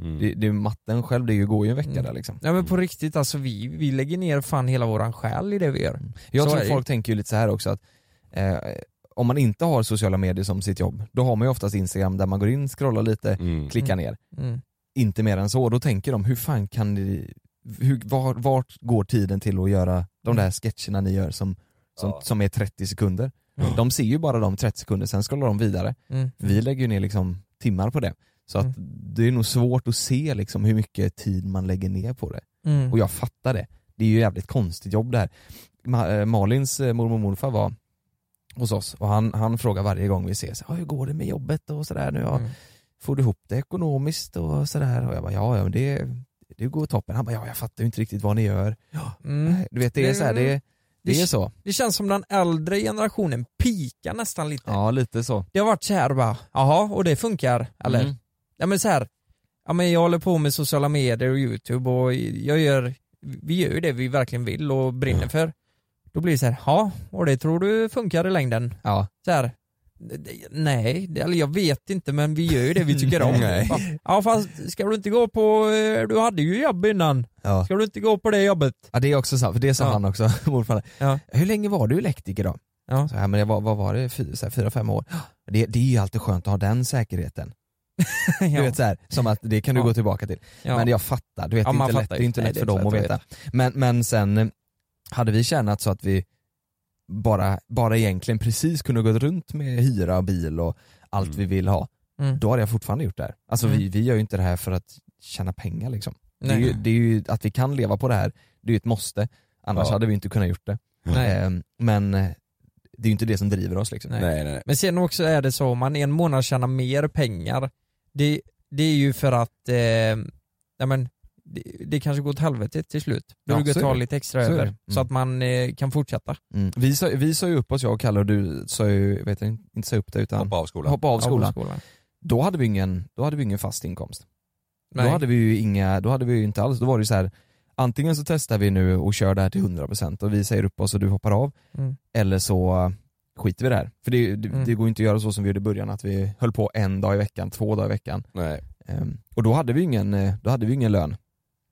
F: Mm.
E: Det, det är ju matten själv, det är ju- går ju en vecka
D: Mm.
E: där liksom.
D: Ja men på riktigt alltså, vi, vi lägger ner fan hela våran själ i det vi gör.
E: Jag
D: Så är
E: tror
D: det
E: folk tänker ju lite så här också att eh, om man inte har sociala medier som sitt jobb, då har man ju oftast Instagram där man går in, scrollar lite,
F: Mm.
E: klickar ner.
D: Mm.
E: Inte mer än så. Då tänker de, hur fan kan ni, hur, var, vart går tiden till att göra de
D: Mm.
E: där sketcherna ni gör som, som, som är 30 sekunder? De ser ju bara de 30 sekunder, sen scrollar de vidare.
D: Mm.
E: Vi lägger ju ner liksom timmar på det. Så att det är nog svårt att se liksom hur mycket tid man lägger ner på det.
D: Mm.
E: Och jag fattar det. Det är ju jävligt konstigt jobb det här. Ma eh, Malins eh, mormor och morfar var hos oss och han, han frågar varje gång vi ses, "Ja, hur går det med jobbet och sådär nu? Ja,
D: Mm.
E: Får du ihop det ekonomiskt och sådär? Och jag bara, ja, ja men det, det går toppen. Han bara, ja jag fattar ju inte riktigt vad ni gör.
D: Mm.
E: Nej, Du vet det är så här, det, det är så.
D: Det känns som den äldre generationen pikar nästan lite.
E: Ja lite så.
D: Det har varit så här bara, jaha, och det funkar, eller?
E: Mm.
D: Ja men så här, ja men jag håller på med sociala medier och youtube och jag gör, vi gör ju det vi verkligen vill och brinner för. Då blir det så här, ja, och det tror du funkar i längden?
E: Ja.
D: Så här, nej, det, eller jag vet inte men vi gör ju det vi tycker
E: (laughs)
D: om.
F: Nej.
D: Ja fast ska du inte gå på, eh, du hade ju jobb innan,
E: Ja.
D: ska du inte gå på det jobbet?
E: Ja det är också sant, för det sa
D: Ja.
E: han också, (laughs) morfar.
D: Ja.
E: Hur länge var du elektriker då?
D: Ja.
E: Så här, men jag var, vad var det, Fy- så här, fyra, fem år? Det, det är ju alltid skönt att ha den säkerheten. (laughs) Du
D: Ja.
E: vet så här, som att det kan du
D: Ja.
E: gå tillbaka till.
D: Ja.
E: Men jag fattar, du vet
D: Ja,
E: det, är
D: man
E: inte lätt, det
D: fattar
E: är
D: ju.
E: inte
D: Nej,
E: lätt
D: det är
E: för dem
D: inte
E: att
D: lätt att
E: veta. Men, men sen eh, hade vi tjänat så att vi bara, bara egentligen precis kunde gå runt med hyra och bil och allt
F: Mm.
E: vi vill ha,
D: Mm.
E: då hade jag fortfarande gjort det här. Alltså vi,
D: Mm.
E: vi gör ju inte det här för att tjäna pengar liksom. Det är,
D: Nej.
E: ju, det är ju att vi kan leva på det här, det är ju ett måste. Annars
F: Ja.
E: hade vi inte kunnat gjort det.
D: Nej.
E: Eh, Men eh, det är ju inte det som driver oss liksom.
D: Nej.
F: Nej, nej, nej.
D: Men sen också är det så, om man en månad tjänar mer pengar, det, det är ju för att eh, ja, men, det, det kanske går åt helvete till slut. Då
E: Ja,
D: ja, du går
E: så är
D: ta
E: det.
D: lite extra
E: Så är
D: över,
E: det. Mm.
D: så att man eh, kan fortsätta.
E: Mm. Vi, sa, vi sa ju upp oss jag och Kalle och du sa ju, vet jag, inte sa upp det utan
F: Hoppa av skolan.
E: hoppa av
D: Ja,
E: skolan.
D: på skolan.
E: Då hade vi ingen, då hade vi ingen fast inkomst.
D: Nej.
E: Då hade vi ju inga, då hade vi ju inte alls, då var det ju så här antingen så testar vi nu och kör det här till 100% och vi säger upp oss och du hoppar av
D: Mm.
E: eller så eh, skiter vi i det här. För det, är ju- det,
D: Mm.
E: det går ju inte att göra så som vi gjorde i början att vi höll på en dag i veckan, två dagar i veckan.
F: Nej.
E: Ehm, och då hade vi ingen, eh, då hade vi ingen lön.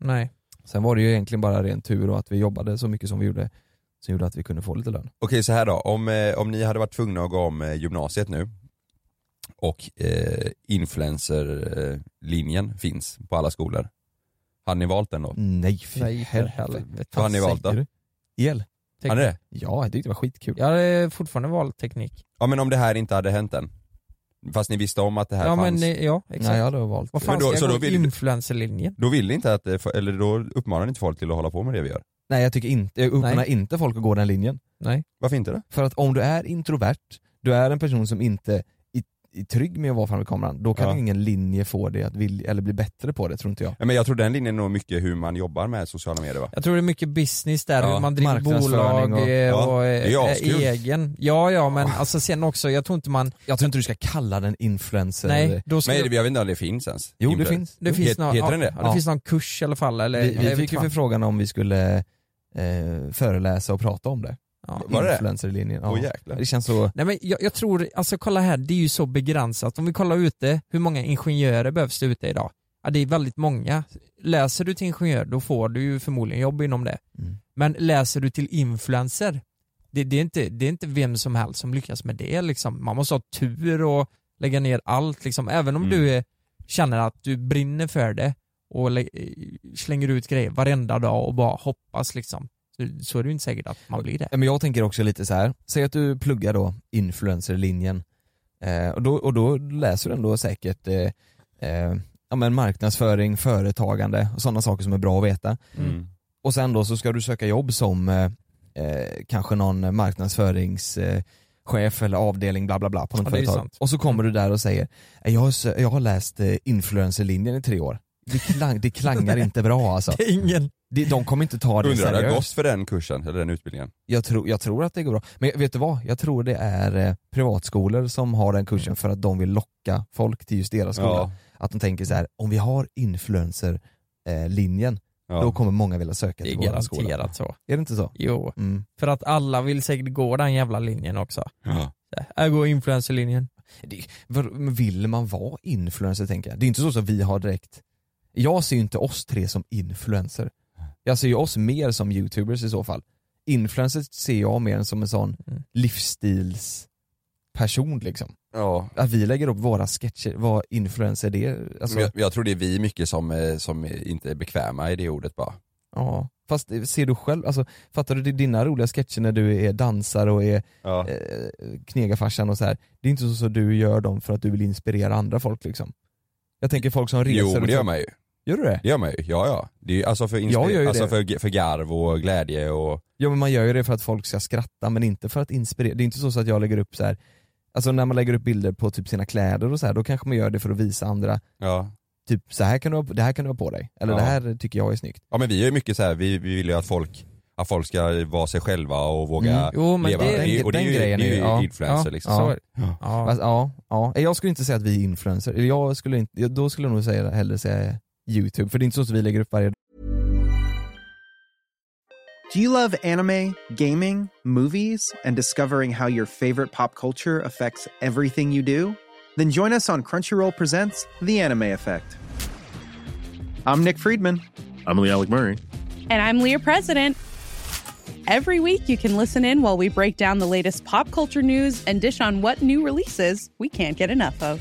D: Nej.
E: Sen var det ju egentligen bara ren tur och att vi jobbade så mycket som vi gjorde som gjorde att vi kunde få lite lön.
F: Okej så här då, om, eh, om ni hade varit tvungna att gå om eh, gymnasiet nu och eh, influencerlinjen finns på alla skolor. Hade ni valt den då?
E: Nej för
D: Nej, för helvete.
F: Vad har ni valt då?
E: Säger du? El?
F: Hade ni det?
E: Ja, jag tyckte det var skitkul.
D: Jag hade fortfarande valt teknik.
F: Ja men om det här inte hade hänt än. Fast ni visste om att det här
D: Ja
F: fanns.
D: men eh, ja, exakt.
E: Nej, jag hade valt
D: Vad
F: Men
D: fan
F: då- så
D: ska
F: då
D: jag gå
F: vill du-
D: influencerlinjen?
F: Då vill ni inte att, eh, för- eller då uppmanar ni inte folk till att hålla på med det vi gör.
E: Nej jag tycker inte, jag uppmanar
D: Nej.
E: inte folk att gå den linjen.
D: Nej.
F: Varför inte det?
E: För att om du är introvert, du är en person som inte är, är trygg med att vara framför kameran, då kan
F: Ja.
E: ingen linje få dig att vilja, eller bli bättre på det tror inte jag.
F: Ja, men jag tror den linjen är nog mycket hur man jobbar med sociala medier va?
D: Jag tror det är mycket business där,
F: Ja,
D: hur man driver
E: marknadsföring
D: bolag
E: och-
D: och,
F: Ja,
D: och,
F: det är
D: eh,
F: askul.
D: egen. Ja ja men alltså sen också, jag tror inte man,
E: Jag tror inte du ska kalla den influencer.
D: nej då ska
F: Men jag vet inte om det finns ens.
E: Jo det
F: Influencer.
E: finns.
D: Det finns
F: Het-
D: någon,
F: heter
D: ja,
F: den det?
D: Ja, det
E: Ja.
D: finns någon kurs i alla fall eller
E: Vi,
D: jag
E: vi
D: vet
E: fick ju
D: Eh, fan.
E: förfrågan om vi skulle eh, föreläsa och prata om det.
D: Ja.
F: Var det det?
E: Influencerlinjen.
F: Åh,
E: Ja.
F: jäklar.
E: det känns så,
D: Nej men jag, jag tror, alltså kolla här, det är ju så begränsat. Om vi kollar ute, hur många ingenjörer behövs det ute idag? Ja det är väldigt många. Läser du till ingenjör då får du ju förmodligen jobb inom det.
E: Mm.
D: Men läser du till influencer, det, det, är inte, det är inte vem som helst som lyckas med det liksom. Man måste ha tur och lägga ner allt liksom. Även om
F: Mm.
D: du är, känner att du brinner för det och lä- eh, slänger ut grejer varenda dag och bara hoppas liksom. Så, så är det ju inte säkert att man blir det.
E: Ja, men jag tänker också lite så här. säg att du pluggar då influencerlinjen eh, och, då, och då läser du ändå säkert eh, eh, ja, men marknadsföring, företagande och sådana saker som är bra att veta.
F: Mm.
E: Och sen då så ska du söka jobb som eh, eh, kanske någon marknadsföringschef eh, chef eller avdelning bla bla bla på något
D: Ja, det är ju
E: företag.
D: sant.
E: Och så kommer du där och säger, "Eh, jag har, sö- jag har läst eh, influencerlinjen i tre år. Det, klang,
D: (laughs)
E: det klangar inte bra alltså.
D: Det är ingen
E: De, de kommer inte ta det
F: Undrar hur det har
E: seriöst.
F: gått för den kursen, eller den utbildningen.
E: Jag, tror- jag tror att det går bra. Men vet du vad? Jag tror det är eh, privatskolor som har den
D: Mm.
E: kursen för att de vill locka folk till just deras skola. Att de tänker så här, om vi har influencerlinjen,
F: ja.
E: då kommer många vilja söka
D: Det är
E: till våran skola.
D: garanterat så.
E: Är det inte så?
D: Jo,
E: Mm.
D: för att alla vill säkert gå den jävla linjen också.
F: Ja.
D: Jag går influencerlinjen.
E: Det, var- men vill man vara influencer tänker jag? Det är inte så som vi har direkt, jag ser ju inte oss tre som influencer. Jag ser ju oss mer som youtubers i så fall. Influencer ser jag mer som en sån
D: Mm.
E: livsstilsperson liksom.
F: ja.
E: Att vi lägger upp våra sketcher, vad influencer det är. Alltså,
F: Men jag, jag tror det är vi mycket som, eh, som inte är bekväma i det ordet bara.
E: ja. Fast ser du själv, alltså, fattar du det är dina roliga sketcher när du är dansare och är
F: Ja.
E: eh, knegarfarsan och så här. Det är inte så att du gör dem för att du vill inspirera andra folk liksom. Jag tänker folk som reser liksom-
F: Jo men
E: och
F: det
E: så-
F: gör man ju.
E: Gör du det?
F: Det gör man ju, ja ja. Det är, ju- alltså för,
E: Jag gör
F: inspir-
E: ju
F: alltså
E: det.
F: för, för garv och glädje och...
E: Ja men man gör ju det för att folk ska skratta men inte för att inspirera. Det är inte så att jag lägger upp så här. Alltså när man lägger upp bilder på typ sina kläder och så här, då kanske man gör det för att visa andra,
F: Ja.
E: typ så här kan du ha, det här kan du ha på dig. Eller
F: Ja.
E: det här tycker jag är snyggt.
F: ja men vi är ju mycket så här, vi, vi vill ju att folk, att folk ska vara sig själva och våga
E: Mm.
D: Jo men
F: leva.
D: det
E: den-
F: är- och det är
E: den
F: ju,
E: grejen
F: det är
E: är
F: ju
E: ju- ja.
F: influencer
D: ja,
F: liksom.
D: Så,
F: Ja.
D: ja.
E: Fast, ja, ja, jag skulle inte säga att vi är influencers, eller jag skulle inte, jag- då skulle jag nog säga, hellre säga youtube, för det är inte så att vi lägger upp varje
H: Do you love anime, gaming, movies, and discovering how your favorite pop culture affects everything you do? Then join us on Crunchyroll Presents The Anime Effect. I'm Nick Friedman.
I: I'm Lee Alec Murray.
J: And I'm Leah President. Every week, you can listen in while we break down the latest pop culture news and dish on what new releases we can't get enough of.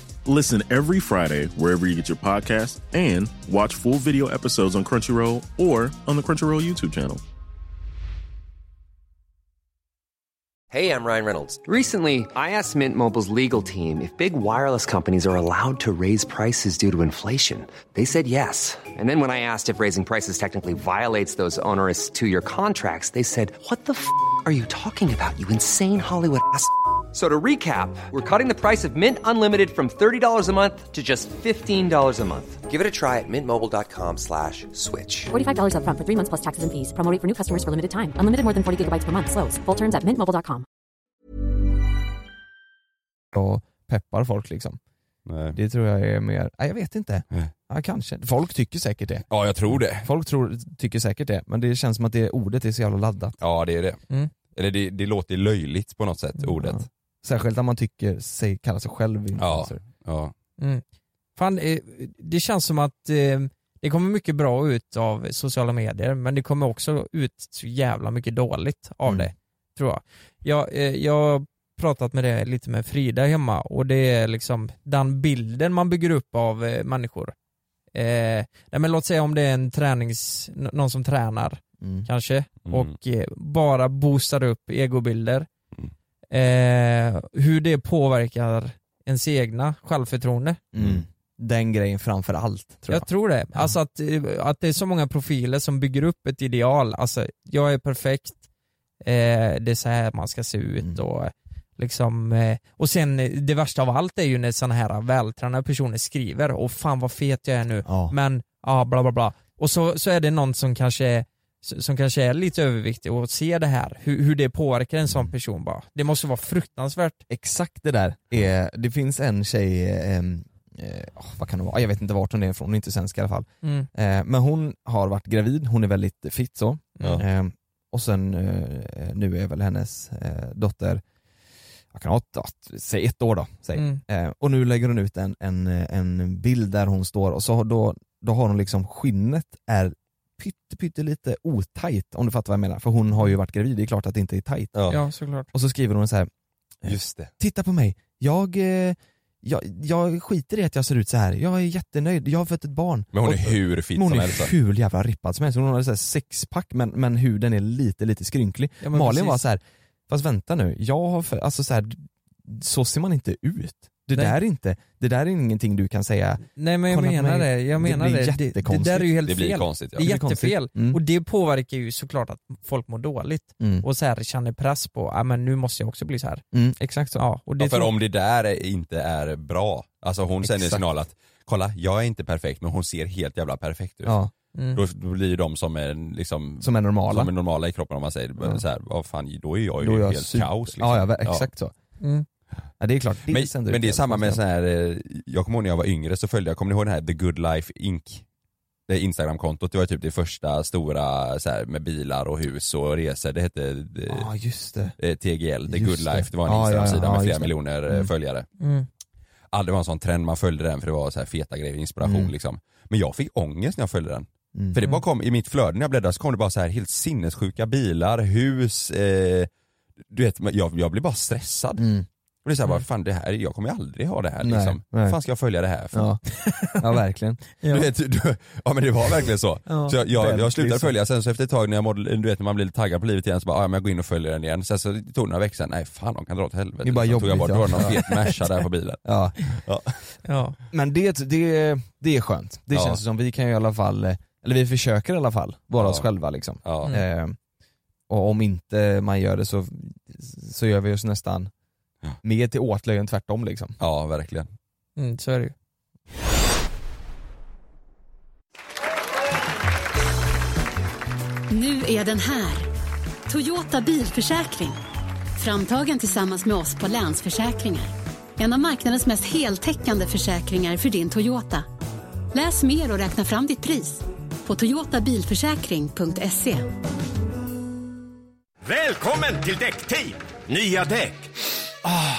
I: Listen every Friday wherever you get your podcast and watch full video episodes on Crunchyroll or on the Crunchyroll YouTube channel.
K: Hey, I'm Ryan Reynolds. Recently, I asked Mint Mobile's legal team if big wireless companies are allowed to raise prices due to inflation. They said yes. And then when I asked if raising prices technically violates those onerous two year contracts, they said, What the f are you talking about, you insane Hollywood ass? f- a-" So to recap, we're cutting the price of Mint Unlimited from $30 a month to just $15 a month. Give it a try at mintmobile.com slash switch.
L: $45 upfront for three months plus taxes and fees. Promo rate for new customers for limited time. Unlimited more than 40 gigabytes per month. Slows. Full terms at mintmobile.com.
E: dag och peppar folk liksom.
F: Nej.
E: Det tror jag är mer, nej jag vet inte.
F: Nej.
E: Ja, kanske. Folk tycker säkert det.
F: Ja jag tror det.
E: Folk tror, tycker säkert det, men det känns som att det ordet är så jävla laddat.
F: Ja det är det.
D: Mm.
F: Eller det, det låter löjligt på något sätt,
E: Ja.
F: ordet.
E: Särskilt när man tycker sig, kallar sig själv influencer.
F: Ja.
D: Mm. Fan, eh, det känns som att eh, det kommer mycket bra ut av sociala medier men det kommer också ut så jävla mycket dåligt av
E: Mm.
D: det, tror jag. Jag, eh, jag har pratat med det lite med Frida hemma och det är liksom den bilden man bygger upp av eh, människor. Eh, nej men låt säga om det är en tränings, n- någon som tränar
E: Mm.
D: kanske
F: Mm.
D: och eh, bara boostar upp egobilder.
F: Mm.
D: Eh, hur det påverkar ens egna självförtroende.
E: Mm. Den grejen framför allt,
D: jag.
E: tror jag. Mm.
D: tror det.
E: Ja.
D: Alltså att, eh, att det är så många profiler som bygger upp ett ideal. Alltså, jag är perfekt, eh, det är så här man ska se ut
E: Mm.
D: och Liksom, eh, och sen eh, det värsta av allt är ju när sådana här vältränade personer skriver och fan vad fet jag är nu, men ja bla bla bla. Och så, så är det någon som kanske är s- som kanske är lite överviktig och ser det här, hur, hur det påverkar en
E: Mm.
D: sån person bara. Det måste vara fruktansvärt.
E: Exakt det där är, det finns en tjej, eh, eh, åh, vad kan det vara, jag vet inte vart hon är ifrån, hon är inte svensk i alla fall.
D: Mm.
E: Eh, men hon har varit gravid, hon är väldigt fit så. Eh, och sen eh, nu är väl hennes eh, dotter, jag kan ha ett, att- säg ett år då, säg.
D: Mm.
E: Eh, och nu lägger hon ut en, en, eh, en bild där hon står och så har- då, då har hon liksom skinnet är pytte, pyttelite otajt om du fattar vad jag menar. För hon har ju varit gravid, det är klart att det inte är tajt.
D: Ja, såklart.
E: Och så skriver hon så här. eh,
F: Just det.
E: Titta på mig, jag, eh, jag, jag skiter i att jag ser ut så här. jag är jättenöjd, jag har fött ett barn.
F: Men hon är
E: Och-
F: hur fit
E: men hon
F: som
E: är
F: helst. alltså.
E: hur jävla rippad som helst, hon har så här sexpack men, men huden är lite lite skrynklig.
D: Ja, men
E: Malin
D: precis.
E: var så här, fast vänta nu, jag har för, alltså så här, d- så ser man inte ut. Det
D: Nej.
E: där, är inte, det där är ingenting du kan säga,
D: Nej men jag
E: Kolla på
D: menar
E: mig.
D: det, jag
E: Det
D: menar
E: blir
D: det. Det, det
E: jättekonstigt.
D: där är ju helt
F: Det blir
D: fel.
F: konstigt, ja.
D: Det är
F: Det
E: blir
D: jättefel.
E: konstigt. Mm.
D: Och det påverkar ju såklart att folk mår dåligt
E: Mm.
D: och så här känner press på, ja men nu måste jag också bli så här.
E: mm, exakt så.
D: Ja, och det
F: Ja, för
D: tror-
F: om det där är- inte är bra, alltså hon sänder en
E: Exakt.
F: signal att kolla jag är inte perfekt men hon ser helt jävla perfekt ut.
E: Ja,
D: Mm.
F: Då då blir ju de som är, liksom,
E: som är normala.
F: som är normala i kroppen om man säger så här, vad fan, då är jag ju
E: Då är jag
F: helt
E: super-
F: kaos. Liksom.
E: ja, ja, ver- exakt så.
D: Mm.
E: Ja, det är klart, det
F: Men,
E: sänder
F: men
E: ut
F: det är
E: helt
F: samma med
E: konstigt.
F: sån här, eh, jag kommer ihåg när jag var yngre så följde jag, kommer ni ihåg den här The Good Life Inc? Det Instagram-kontot, det var typ det första stora så här, med bilar och hus och resor, det hette eh,
E: Ja just det.
F: eh, TGL, The
E: Ah. Just
F: Good
E: det. Ah,
F: Life, det var en
E: Ja, ja,
F: Instagram-sida
E: ja,
F: med
E: just
F: flera
E: det.
F: miljoner eh,
E: Mm.
F: följare.
D: Mm.
F: Ja, det var en sån trend, man följde den för det var så här feta grejer, inspiration
E: Mm.
F: liksom. Men jag fick ångest när jag följde den.
E: Mm.
F: För det bara kom, i mitt flöde när jag bläddrade så kom det bara så här helt sinnessjuka bilar, hus, eh, du vet, men jag, jag blev bara stressad.
E: Mm.
F: Och det är såhär,
D: Mm.
F: bara, fan det här, jag kommer ju aldrig ha det här
E: Nej,
F: liksom.
E: nej.
F: Vad fan ska jag följa det här för?
E: Ja. ja verkligen.
D: Ja.
F: Du vet, du, ja men det var verkligen så.
D: Ja.
F: så jag, jag, jag
E: Väldigt
F: slutade
E: så.
F: följa, sen så efter ett tag när jag mådde, du vet när man blir lite taggad på livet igen så bara, ja men jag går in och följer den igen. Sen så det tog det några veckor sen, nej fan de kan dra åt helvete.
E: Det är bara
F: Så tog jag
E: jobbigt,
F: bort,
E: ja.
F: då var det någon
E: Ja.
F: fet Merca där på bilen.
E: Ja.
D: Ja.
E: Men det, det, det är skönt. Det
F: Ja.
E: känns som vi kan ju i alla fall, eh, eller vi försöker i alla fall, vara
F: Ja.
E: oss själva liksom.
F: Ja.
D: Mm.
E: Eh, och om inte man gör det så, så gör vi oss nästan
F: Ja.
E: mer till åtlöje än tvärtom liksom.
F: ja, verkligen.
D: Mm, så är det ju.
M: Nu är den här. Toyota bilförsäkring. Framtagen tillsammans med oss på Länsförsäkringar. En av marknadens mest heltäckande försäkringar för din Toyota. Läs mer och räkna fram ditt pris på toyotabilförsäkring.se.
A: Välkommen till Däckteam! Nya däck. Ah,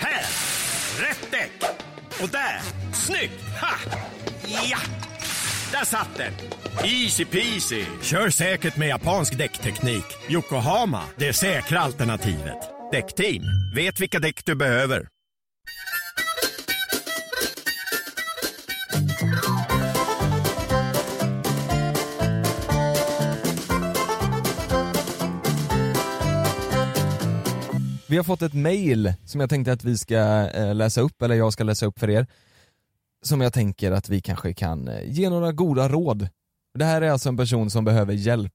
A: här! Rätt däck! Och där! Snyggt! Ha! Ja! Där satt den! Easy peasy! Kör säkert med japansk däckteknik. Yokohama, det säkra alternativet. Däckteam, vet vilka däck du behöver.
E: Vi har fått ett mail som jag tänkte att vi ska eh, läsa upp, eller jag ska läsa upp för er. Som jag tänker att vi kanske kan eh, ge några goda råd. Det här är alltså en person som behöver hjälp.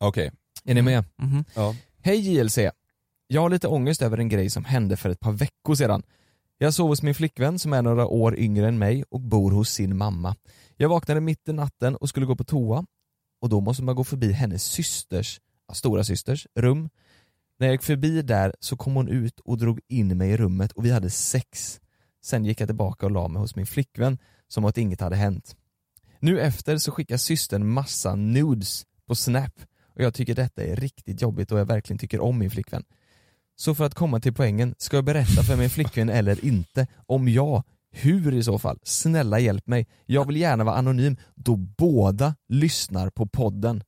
F: Okej.
E: Är ni med?
D: Mhm.
F: Ja.
E: Hej JLC! Jag har lite ångest över en grej som hände för ett par veckor sedan. Jag sov hos min flickvän som är några år yngre än mig och bor hos sin mamma. Jag vaknade mitt i natten och skulle gå på toa och då måste man gå förbi hennes systers, ja, stora systers rum. När jag gick förbi där så kom hon ut och drog in mig i rummet och vi hade sex. Sen gick jag tillbaka och la mig hos min flickvän som att inget hade hänt. Nu efter så skickar systern massa nudes på Snap och jag tycker detta är riktigt jobbigt och jag verkligen tycker om min flickvän. Så för att komma till poängen, ska jag berätta för min flickvän eller inte? Om ja, hur i så fall? Snälla hjälp mig. Jag vill gärna vara anonym då båda lyssnar på podden.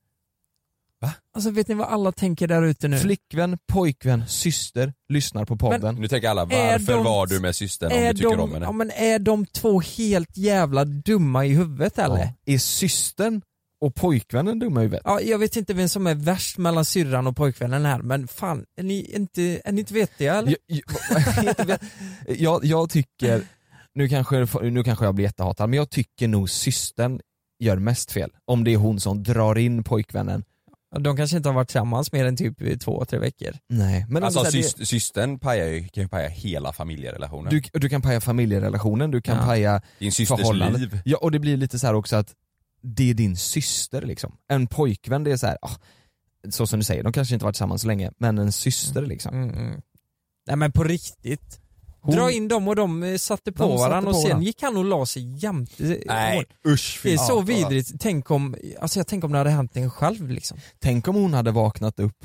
D: Alltså vet ni vad alla tänker där ute nu?
E: Flickvän, pojkvän, syster lyssnar på podden.
F: Nu tänker alla,
D: Är
F: varför
D: de-
F: var du med systern om
D: är
F: du tycker
D: de,
F: om henne?
D: ja, men är de två helt jävla dumma i huvudet eller?
E: Ja. Är systern och pojkvännen dumma i huvudet?
D: Ja, jag vet inte vem som är värst mellan syrran och pojkvännen här, men fan, är ni inte, är ni inte vettiga eller?
E: Jag, jag, (laughs) jag, jag tycker, nu kanske, nu kanske jag blir jättehatad, men jag tycker nog systern gör mest fel. Om det är hon som drar in pojkvännen
D: De kanske inte har varit tillsammans mer än typ två, tre veckor.
E: Nej, men
F: alltså
E: alltså,
F: sys- systern pajar ju, kan ju paja hela familjerelationen.
E: Du, du kan paja familjerelationen, du kan
F: Ja.
E: paja
F: Din systers
E: förhållandet.
F: liv.
E: Ja, och det blir lite så här också att det är din syster liksom. En pojkvän, det är så här, ah, så som du säger, de kanske inte varit tillsammans så länge, men en syster
F: Mm.
E: liksom.
D: Nej men på riktigt. Dra in dem och de eh, satte på
E: De satte
D: varandra och
E: på
D: sen
E: varandra.
D: gick han och la sig jämt. eh,
E: Nej,
F: usch.
D: Det är
E: fy
D: så
E: fan.
D: vidrigt. Tänk om, alltså jag tänker om det hade hänt en själv liksom.
E: Tänk om hon hade vaknat upp,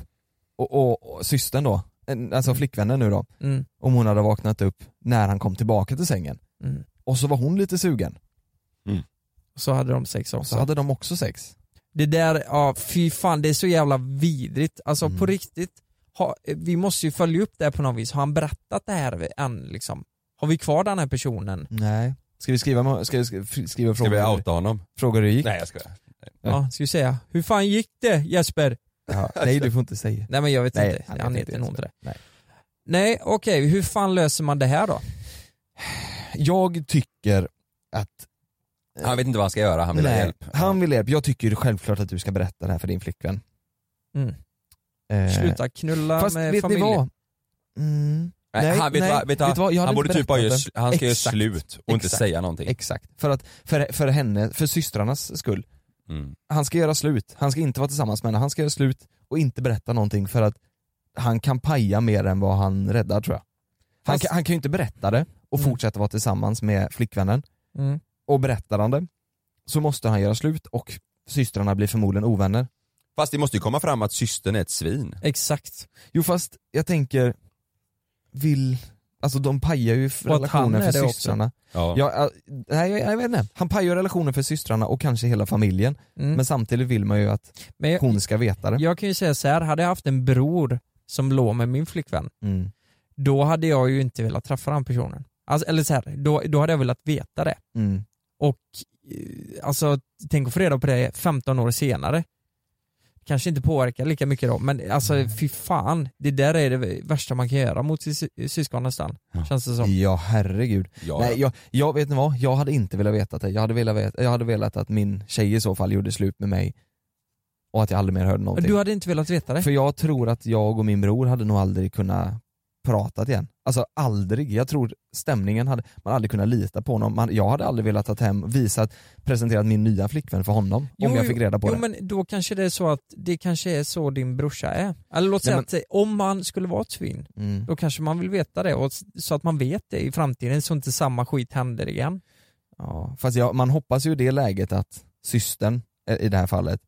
E: och, och, och systern då, en- alltså flickvännen nu då,
D: Mm.
E: om hon hade vaknat upp när han kom tillbaka till sängen.
D: Mm.
E: Och så var hon lite sugen,
D: Så hade de sex också.
E: så hade de också sex.
D: Det där, ja fy fan det är så jävla vidrigt. Alltså på riktigt, ha, eh, vi måste ju följa upp det här på något vis. Har han berättat det här än liksom? Har vi kvar den här personen?
E: Nej. Ska vi skriva, ska vi sk- skriva
F: Ska vi
E: frågor?
F: outa honom?
E: Fråga hur det gick?
F: Nej jag skojar.
D: Ja, ska vi säga. Hur fan gick det Jesper? (laughs)
E: Ja, nej du får inte säga.
D: Nej men jag vet
E: Nej,
D: inte,
E: han
D: han,
E: vet inte
D: heter nog inte det.
E: Nej.
D: Nej okej, hur fan löser man det här då?
E: Jag tycker att
F: Han vet inte vad han ska göra, han vill ha
E: Nej,
F: hjälp.
E: Han vill ha hjälp. Jag tycker självklart att du ska berätta det här för din flickvän.
D: Mm.
E: Eh,
D: Sluta knulla
E: Fast
D: med
E: vet
D: familj.
E: ni vad? Mm.
F: Nej, han, vet vad, vet
E: du vad? Jag hade
F: han
E: inte
F: borde typ bara
E: berättat
F: göra,
E: det.
F: s- han ska göra
E: Exakt.
F: slut och inte
E: Exakt.
F: säga någonting.
E: Exakt. För att, för, för henne, för systrarnas skull.
F: Mm.
E: Han ska göra slut. Han ska inte vara tillsammans med henne. Han ska göra slut och inte berätta någonting för att han kan paja mer än vad han räddar tror jag. Han,
D: Fast-
E: kan, han kan ju inte berätta det och
F: Mm.
E: fortsätta vara tillsammans med flickvännen.
D: Mm.
E: Och berättar han det så måste han göra slut och systrarna blir förmodligen ovänner.
F: Fast det måste ju komma fram att systern är ett svin.
D: Exakt.
E: Jo fast jag tänker, vill, alltså de pajar ju
D: Och att han
E: relationen
D: är
E: för
D: det också.
E: systrarna.
F: Ja.
E: Ja, äh, nej jag, jag vet inte, han pajar relationen för systrarna och kanske hela familjen.
D: Mm.
E: Men samtidigt vill man ju att
D: Men jag,
E: hon ska veta det.
D: jag kan ju säga så här, hade jag haft en bror som låg med min flickvän,
E: Mm.
D: då hade jag ju inte velat träffa den personen. Alltså, eller så här, då, då hade jag velat veta det.
E: Mm.
D: Och eh, alltså, tänk att få reda på det 15 år senare. Kanske inte påverkar lika mycket då, men alltså
E: Mm.
D: fy fan. Det där är det värsta man kan göra mot sitt sy- syskon nästan, känns det som.
E: Ja herregud.
F: Ja,
E: Nej, jag, jag vet inte vad, jag hade inte velat veta det. Jag hade velat, veta, jag hade velat att min tjej i så fall gjorde slut med mig och att jag aldrig mer hörde någonting.
D: Du hade inte velat veta det?
E: För jag tror att jag och min bror hade nog aldrig kunnat prata igen. Alltså aldrig. Jag tror stämningen hade, man aldrig kunnat lita på honom. Man, jag hade aldrig velat ta hem, visat, presenterat min nya flickvän för honom om jag fick reda på
D: jo,
E: det.
D: men då kanske det är så att det kanske är så din brorsa är. Eller låt säga
E: Nej,
D: att eh, om man skulle vara ett svin,
E: Mm.
D: då kanske man vill veta det och, s- så att man vet det i framtiden så inte samma skit händer igen.
E: Ja, fast jag, man hoppas ju i det läget att systern, eh, i det här fallet,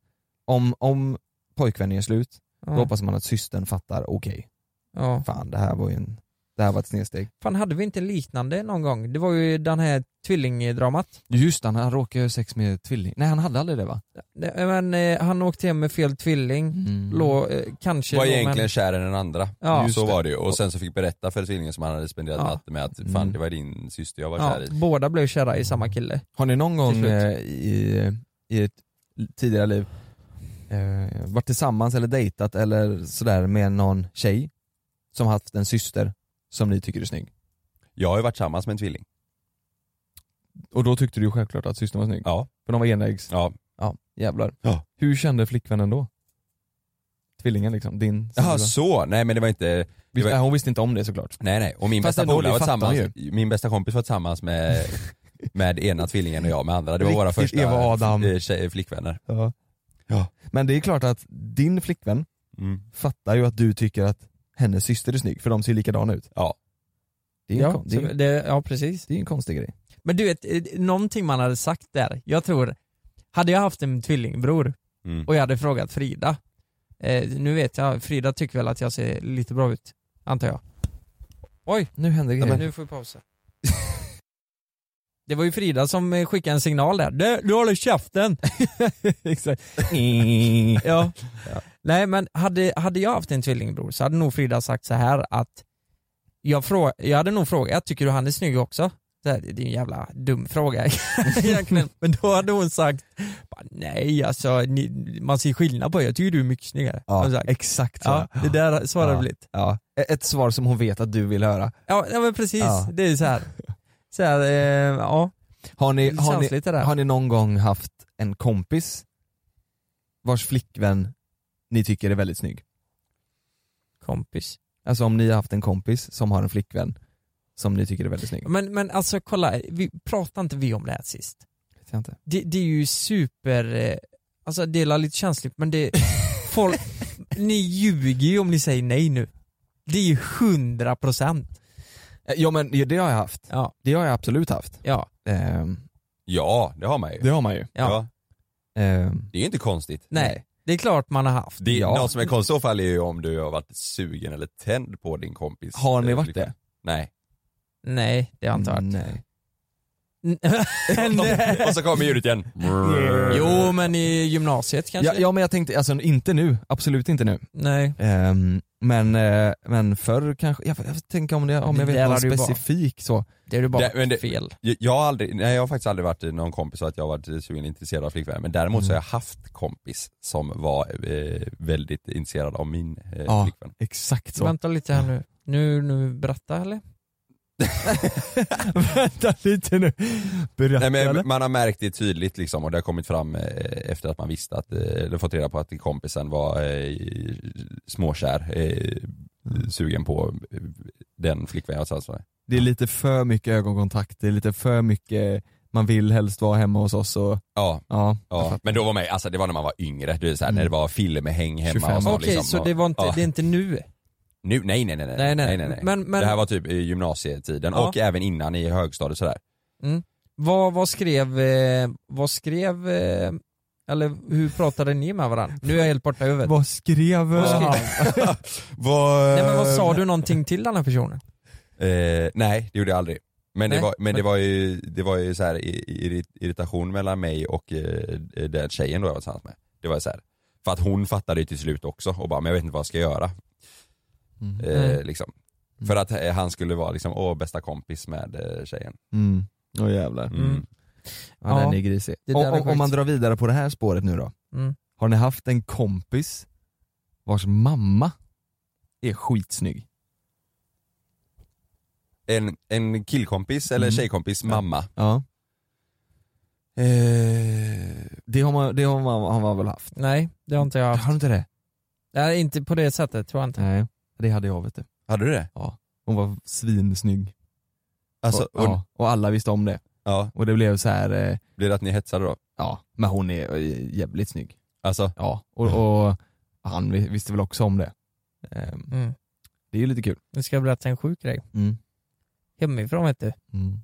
E: om, om pojkvännen är slut,
D: Ja.
E: då hoppas man att systern fattar, okej,
D: Ja.
E: fan det här var ju en, det här var ett snedsteg.
D: Fan hade vi inte liknande någon gång? Det var ju den här tvillingdramat.
E: Just det, han, han råkade göra sex med tvilling, nej han hade aldrig det va?
D: Nej, Men, eh, han åkte hem med fel tvilling,
E: Mm.
D: lå, eh, kanske
F: Var
D: låg med en-
F: egentligen kär i den andra.
D: Ja.
F: så
D: Just
F: var det ju. Och sen så fick berätta för tvillingen som han hade spenderat
D: Ja.
F: natten med att fan det var din syster jag var
D: ja,
F: kär i.
D: Båda blev kära i samma kille.
E: Har ni någon gång
D: slut.
E: eh, i, i ett tidigare liv eh, varit tillsammans eller dejtat eller sådär med någon tjej som haft en syster som ni tycker är snygg?
F: Jag har ju varit tillsammans med en tvilling.
E: Och då tyckte du självklart att systern var snygg?
F: Ja.
E: För de var enäggs?
F: Ja.
E: Ja, jävlar.
F: Ja.
E: Hur kände flickvännen då? Tvillingen liksom, din
F: Jaha
E: syrra?
F: så, nej men det var inte, det
E: Visst-
F: var,
E: nej, Hon visste inte om det såklart.
F: nej nej. Och min
E: Fast
F: bästa,
E: ändå,
F: polare var
E: det fattar
F: tillsammans, min bästa kompis var tillsammans
E: (laughs)
F: med, med ena tvillingen och jag med andra. Det var våra
E: Riktigt
F: första
E: Eva och Adam.
F: eh, tjej, flickvänner.
E: Ja.
F: Ja.
E: Men det är klart att din flickvän
F: Mm.
E: fattar ju att du tycker att hennes syster är snygg för de ser likadana ut.
F: Ja.
E: Det är ju en,
D: Ja,
E: kon- det är,
D: så det, ja, precis.
E: det är en konstig grej.
D: Men du vet, eh, någonting man hade sagt där, jag tror, hade jag haft en tvillingbror
F: Mm.
D: och jag hade frågat Frida, eh, nu vet jag, Frida tycker väl att jag ser lite bra ut, antar jag. Oj,
E: Nu händer grejer.
D: nu får vi pausa. (laughs) Det var ju Frida som eh, skickade en signal där, du, du håller käften! (laughs)
E: Exakt.
D: ja. Nej men hade, hade jag haft en tvillingbror så hade nog Frida sagt så här att jag, frå, jag hade nog frågat, tycker du han är snygg också? Det, här, det är en jävla dum fråga (laughs) egentligen. Men då hade hon sagt, "Bara, nej alltså ni, man ser skillnad på er, jag tycker du är mycket snyggare. Hade hon
E: Ja,
D: sagt.
E: exakt så.
D: ja, det där svarar
E: Ja.
D: vi lite.
E: Ja. e-, Ett svar som hon vet att du vill höra.
D: Ja, ja men precis,
E: Ja.
D: det är så här. Så här eh, ja,
E: Har ni,
D: Lite
E: har, ni,
D: känsligt det där.
E: har ni någon gång haft en kompis vars flickvän ni tycker är väldigt snygg?
D: Kompis.
E: Alltså om ni har haft en kompis som har en flickvän som ni tycker är väldigt snygg?
D: Men, men alltså kolla, vi, pratade inte vi om det här sist?
E: Vet jag inte.
D: Det, det är ju super, eh, alltså det är lite känsligt men det, folk, ni ljuger ju om ni säger nej nu. Det är ju 100 procent.
E: Eh, Ja men det har jag haft.
D: Ja.
E: Det har jag absolut haft.
D: Ja.
E: Ehm,
F: Ja, det har man ju.
E: det har man ju.
F: Ja.
E: Ehm,
F: Det är ju inte konstigt.
D: Nej, det är klart man har haft.
F: Det,
E: Ja.
F: Något som är konstigt i så fall är ju om du har varit sugen eller tänd på din kompis.
E: har ni
F: eh,
E: varit
F: flickvän.
E: det?
F: Nej.
D: Nej, det har jag inte varit.
E: Nej.
D: (laughs) Nej.
F: Och så kommer ljudet
E: (laughs)
F: igen.
D: jo men i gymnasiet kanske?
E: Ja, ja men jag tänkte, alltså inte nu, absolut inte nu.
D: Nej.
E: Ehm, men, eh, men förr kanske, jag, jag tänker om, det, om
D: Det
E: jag
D: där
E: vet någon
D: hade du bara-
E: specifik så.
D: Det är ju bara
F: Det- men det-
D: fel.
F: Jag- Jag har, aldrig, nej, jag har faktiskt aldrig varit i någon kompis och att jag har varit sugen och intresserad av flickvänner men däremot
E: Mm.
F: så har jag haft kompis som var eh, väldigt intresserad av min eh,
E: Ja.
F: flickvän.
E: Exakt så.
D: Vänta lite här nu. Nu, nu berätta eller?
E: (laughs) Vänta lite nu. Berätta
F: Nej,
E: eller?
F: men man har märkt det tydligt liksom och det har kommit fram eh, efter att man visste att, eh, eller fått reda på att kompisen var eh, småkär, eh,
D: Mm.
F: sugen på eh, den alltså, flickvän jag satt med.
E: Det är lite för mycket ögonkontakt, det är lite för mycket, man vill helst vara hemma hos oss och
F: Ja,
E: ja. jag
F: ja.
E: fattar.
F: men då var man alltså det var när man var yngre, det är så här,
E: Mm.
F: när det var filmhäng hemma
E: 25.
F: och så
D: Okej,
F: liksom,
D: så
F: och,
D: det var inte,
F: ja.
D: det är inte nu?
F: Nu, nej nej nej nej,
D: Nej, nej. Men-
F: Men,
D: men-
F: Det här var typ i gymnasietiden
D: Ja.
F: och även innan i högstadiet sådär.
D: Vad, vad skrev, eh, vad skrev, eh, eller hur pratade ni med varandra? Nu är jag helt borta i (laughs) huvudet.
E: Vad skrev
D: Vad skrev-
E: han?
F: Vad...
D: Nej men vad sa du någonting till den här personen?
F: Eh, nej det gjorde jag aldrig. Men,
D: Nej.
F: det var, men det var ju, det var ju så här i- i- irritation mellan mig och eh, den tjejen då jag var tillsammans med. Det var så här. För att hon fattade ju till slut också och bara, men jag vet inte vad jag ska göra.
E: Mm.
F: Eh,
D: Mm.
F: liksom. För att eh, han skulle vara liksom, åh bästa kompis med eh, tjejen.
E: Mm. Åh jävlar.
F: Mm.
E: Ja,
D: Ja.
E: den är grisig.
D: Det där
E: Om,
D: är
E: om, om
D: sjukt.
E: man drar vidare på det här spåret nu då.
D: Mm.
E: Har ni haft en kompis vars mamma är skitsnygg?
F: En, en killkompis eller
E: Mm.
F: tjejkompis mamma.
E: Ja.
F: Eh,
E: Det har man, det har man, har man väl haft?
D: Nej, det har inte jag haft.
E: Har du inte det?
D: Nej, inte på det sättet tror jag inte.
E: Nej. Det hade jag vet du.
F: hade du det?
E: Hon var svinsnygg.
F: Alltså,
E: och, ja, och alla visste om det.
F: ja,
E: Och det blev så här eh,
F: blir det att ni hetsade då?
E: ja men hon är eh, jävligt snygg.
F: Alltså,
E: Ja, och,
D: Mm.
E: och han vi- visste väl också om det. Ehm,
D: Mm.
E: Det är ju lite kul.
D: Nu ska jag berätta en sjuk grej.
E: Mm.
D: Hemifrån vet du.
E: Mm.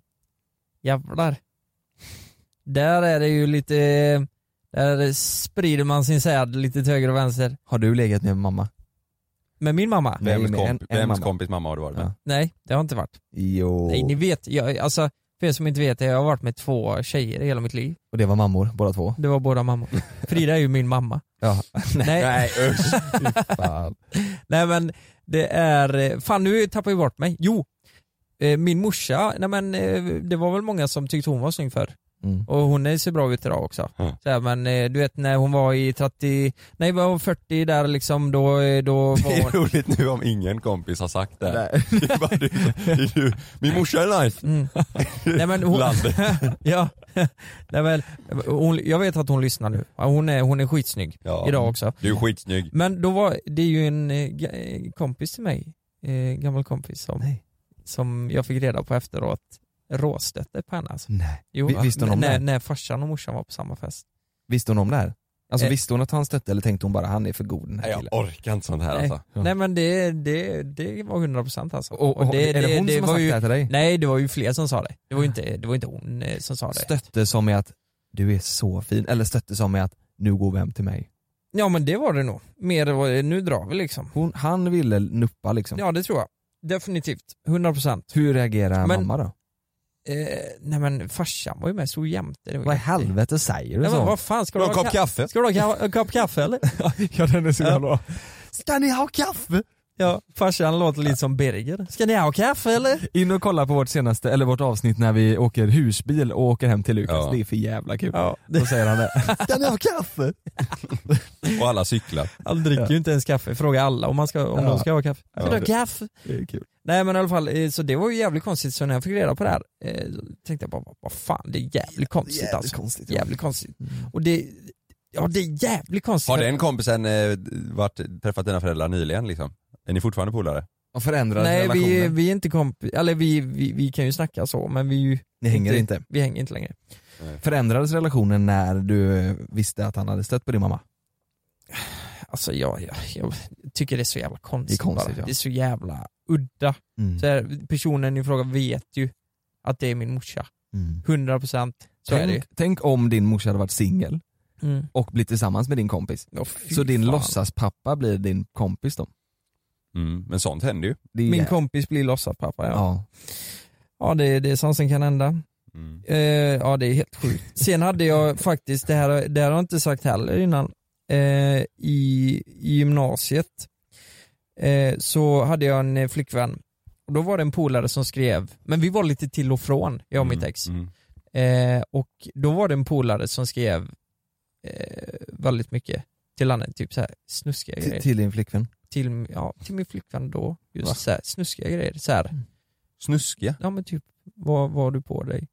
D: Jävlar. Där är det ju lite, där sprider man sin säd lite till höger och vänster.
E: Har du legat med mamma?
D: Med min mamma?
E: Nej,
F: vems,
E: men
F: komp-
E: en- en
F: vems
E: mamma.
F: kompis mamma har du varit med?
E: Ja.
D: Nej, det har inte varit.
E: Jo.
D: Nej, ni vet, jag, alltså för er som inte vet, jag har varit med två tjejer i hela mitt liv.
E: Och det var mammor
D: (laughs)
E: båda två?
D: Det var båda mammor. Frida är ju min mamma.
E: Ja.
D: (laughs) Nej.
F: usch.
E: Fan.
D: (laughs) Nej men det är, eh, fan nu tappar jag bort mig. Jo, eh, min morsa, nej men eh, det var väl många som tyckte hon var snygg förr.
E: Mm.
D: Och hon är- ser bra ut idag också.
F: Mm.
D: Så här, men eh, du vet när hon var i 30, nej var hon 40 där liksom då, eh, då
F: Det
D: var
F: är (laughs)
D: hon...
F: roligt nu om ingen kompis har sagt det. här.
E: Nej.
F: Det är bara du, det är du. Min morsa är nice.
D: Mm. Nej, men hon,
F: Landet.
D: ja. (laughs) Nej, men, hon, jag vet att hon lyssnar nu. Ja, Hon är, hon är skitsnygg
F: Ja.
D: idag också.
F: Du är skitsnygg.
D: Men då var, det är ju en eh, ga- eh, kompis till mig, eh, gammal kompis som, som jag fick reda på efteråt råstötte på henne alltså.
E: Nej.
D: Jo,
E: Vi-
D: va?
E: visste hon om
D: när,
E: det?
D: när farsan och morsan var på samma fest.
E: Visste hon om det här? Alltså
D: Eh.
E: visste hon att han stötte eller tänkte hon bara han är för god den
F: (laughs)
E: här
F: Nej,
E: killen?
F: jag orkar inte sånt här
D: Nej.
F: alltså.
E: Ja.
D: Nej men det, det, det var 100% alltså.
E: Och, och, är det, hon som har
D: var
E: sagt
D: ju,
E: det här till dig?
D: Nej det var ju fler som sa det. Det var ju inte, det var inte hon eh, som sa det.
E: Stötte som är att du är så fin, eller stötte som är att nu går vi hem till mig.
D: Ja men det var det nog. Mer var det, nu drar vi liksom.
E: Hon, han ville nuppa liksom.
D: Ja det tror jag. Definitivt. 100%.
E: Hur reagerar
D: Men-
E: mamma då?
D: Eh, nej men farsan var ju med, stod jämte. Det var
E: Vad i
D: ju-
E: helvete säger du
D: Nej men
E: så?
D: vad fan, ska
F: Ska du
D: du
F: ha en
D: ha
F: kopp kaffe?
D: Ska du ha ka- en kopp kaffe eller?
E: (laughs) ja den är så jävla bra. Ska ni ha kaffe?
D: Ja, farsan låter lite som Birger. Ska ni ha kaffe
E: (laughs)
D: eller?
E: In och kolla på vårt senaste, eller vårt avsnitt när vi åker husbil och åker hem till Lukas,
F: Ja.
E: det är för jävla kul.
D: Ja,
E: Då säger han det. Ska ni ha kaffe?
F: Och alla cyklar.
D: han dricker ju inte ens kaffe. Fråga alla om, man ska, om
E: Ja.
D: de ska ha kaffe. Ska
F: Ja,
D: du ha
F: det-
D: kaffe?
E: Det är kul.
D: Nej men i alla fall, eh, så det var ju jävligt konstigt. Så när jag fick reda på det här, eh, då tänkte jag bara, vad- vad fan, det är jävligt konstigt
E: Jävligt
D: alltså.
E: konstigt. ja.
D: Jävligt konstigt.
E: Mm.
D: Och det, Ja det är jävligt konstigt.
F: Har den kompisen eh, varit, träffat dina föräldrar nyligen liksom? Är ni fortfarande polare?
E: Och förändrar
D: Nej
E: relationen?
D: vi, vi är inte kompis, eller vi, vi, vi kan ju snacka så men vi är ju
E: Ni hänger inte?
D: Vi hänger inte längre.
E: Förändrades relationen när du eh, visste att han hade stött på din mamma?
D: Alltså jag, jag, jag tycker det är så jävla konstigt,
E: Det är konstigt,
D: bara.
E: ja.
D: Det är så jävla udda.
E: Mm.
D: Så här, personen i fråga vet ju att det är min morsa.
E: Mm.
D: 100% så är det ju.
E: Tänk, tänk om din morsa hade varit singel
D: Mm.
E: och blivit tillsammans med din kompis.
D: Åh, fy
E: så din
D: fan.
E: låtsaspappa blir din kompis då?
F: Mm, men sånt händer ju.
E: Det är
D: Min
E: jä-
D: kompis blir låtsaspappa ja.
E: Ja.
D: Ja det, det är sånt som kan hända.
F: Mm.
D: Eh, ja det är helt
E: (laughs)
D: sjukt. Sen hade jag faktiskt, det här, det här har jag inte sagt heller innan, eh, i, i gymnasiet eh, så hade jag en eh, flickvän och då var det en polare som skrev, men vi var lite till och från, jag och
F: Mm.
E: Mm.
D: mitt ex. Eh, och då var det en polare som skrev eh, väldigt mycket till henne, typ så här snuskiga
E: Till,
D: grejer
E: till din flickvän?
D: till, ja, till min flickvän då,
E: Va? Mm.
D: just så här, snuskiga grejer. Så här,
F: Snuskiga?
D: ja men typ, vad vad har du på dig?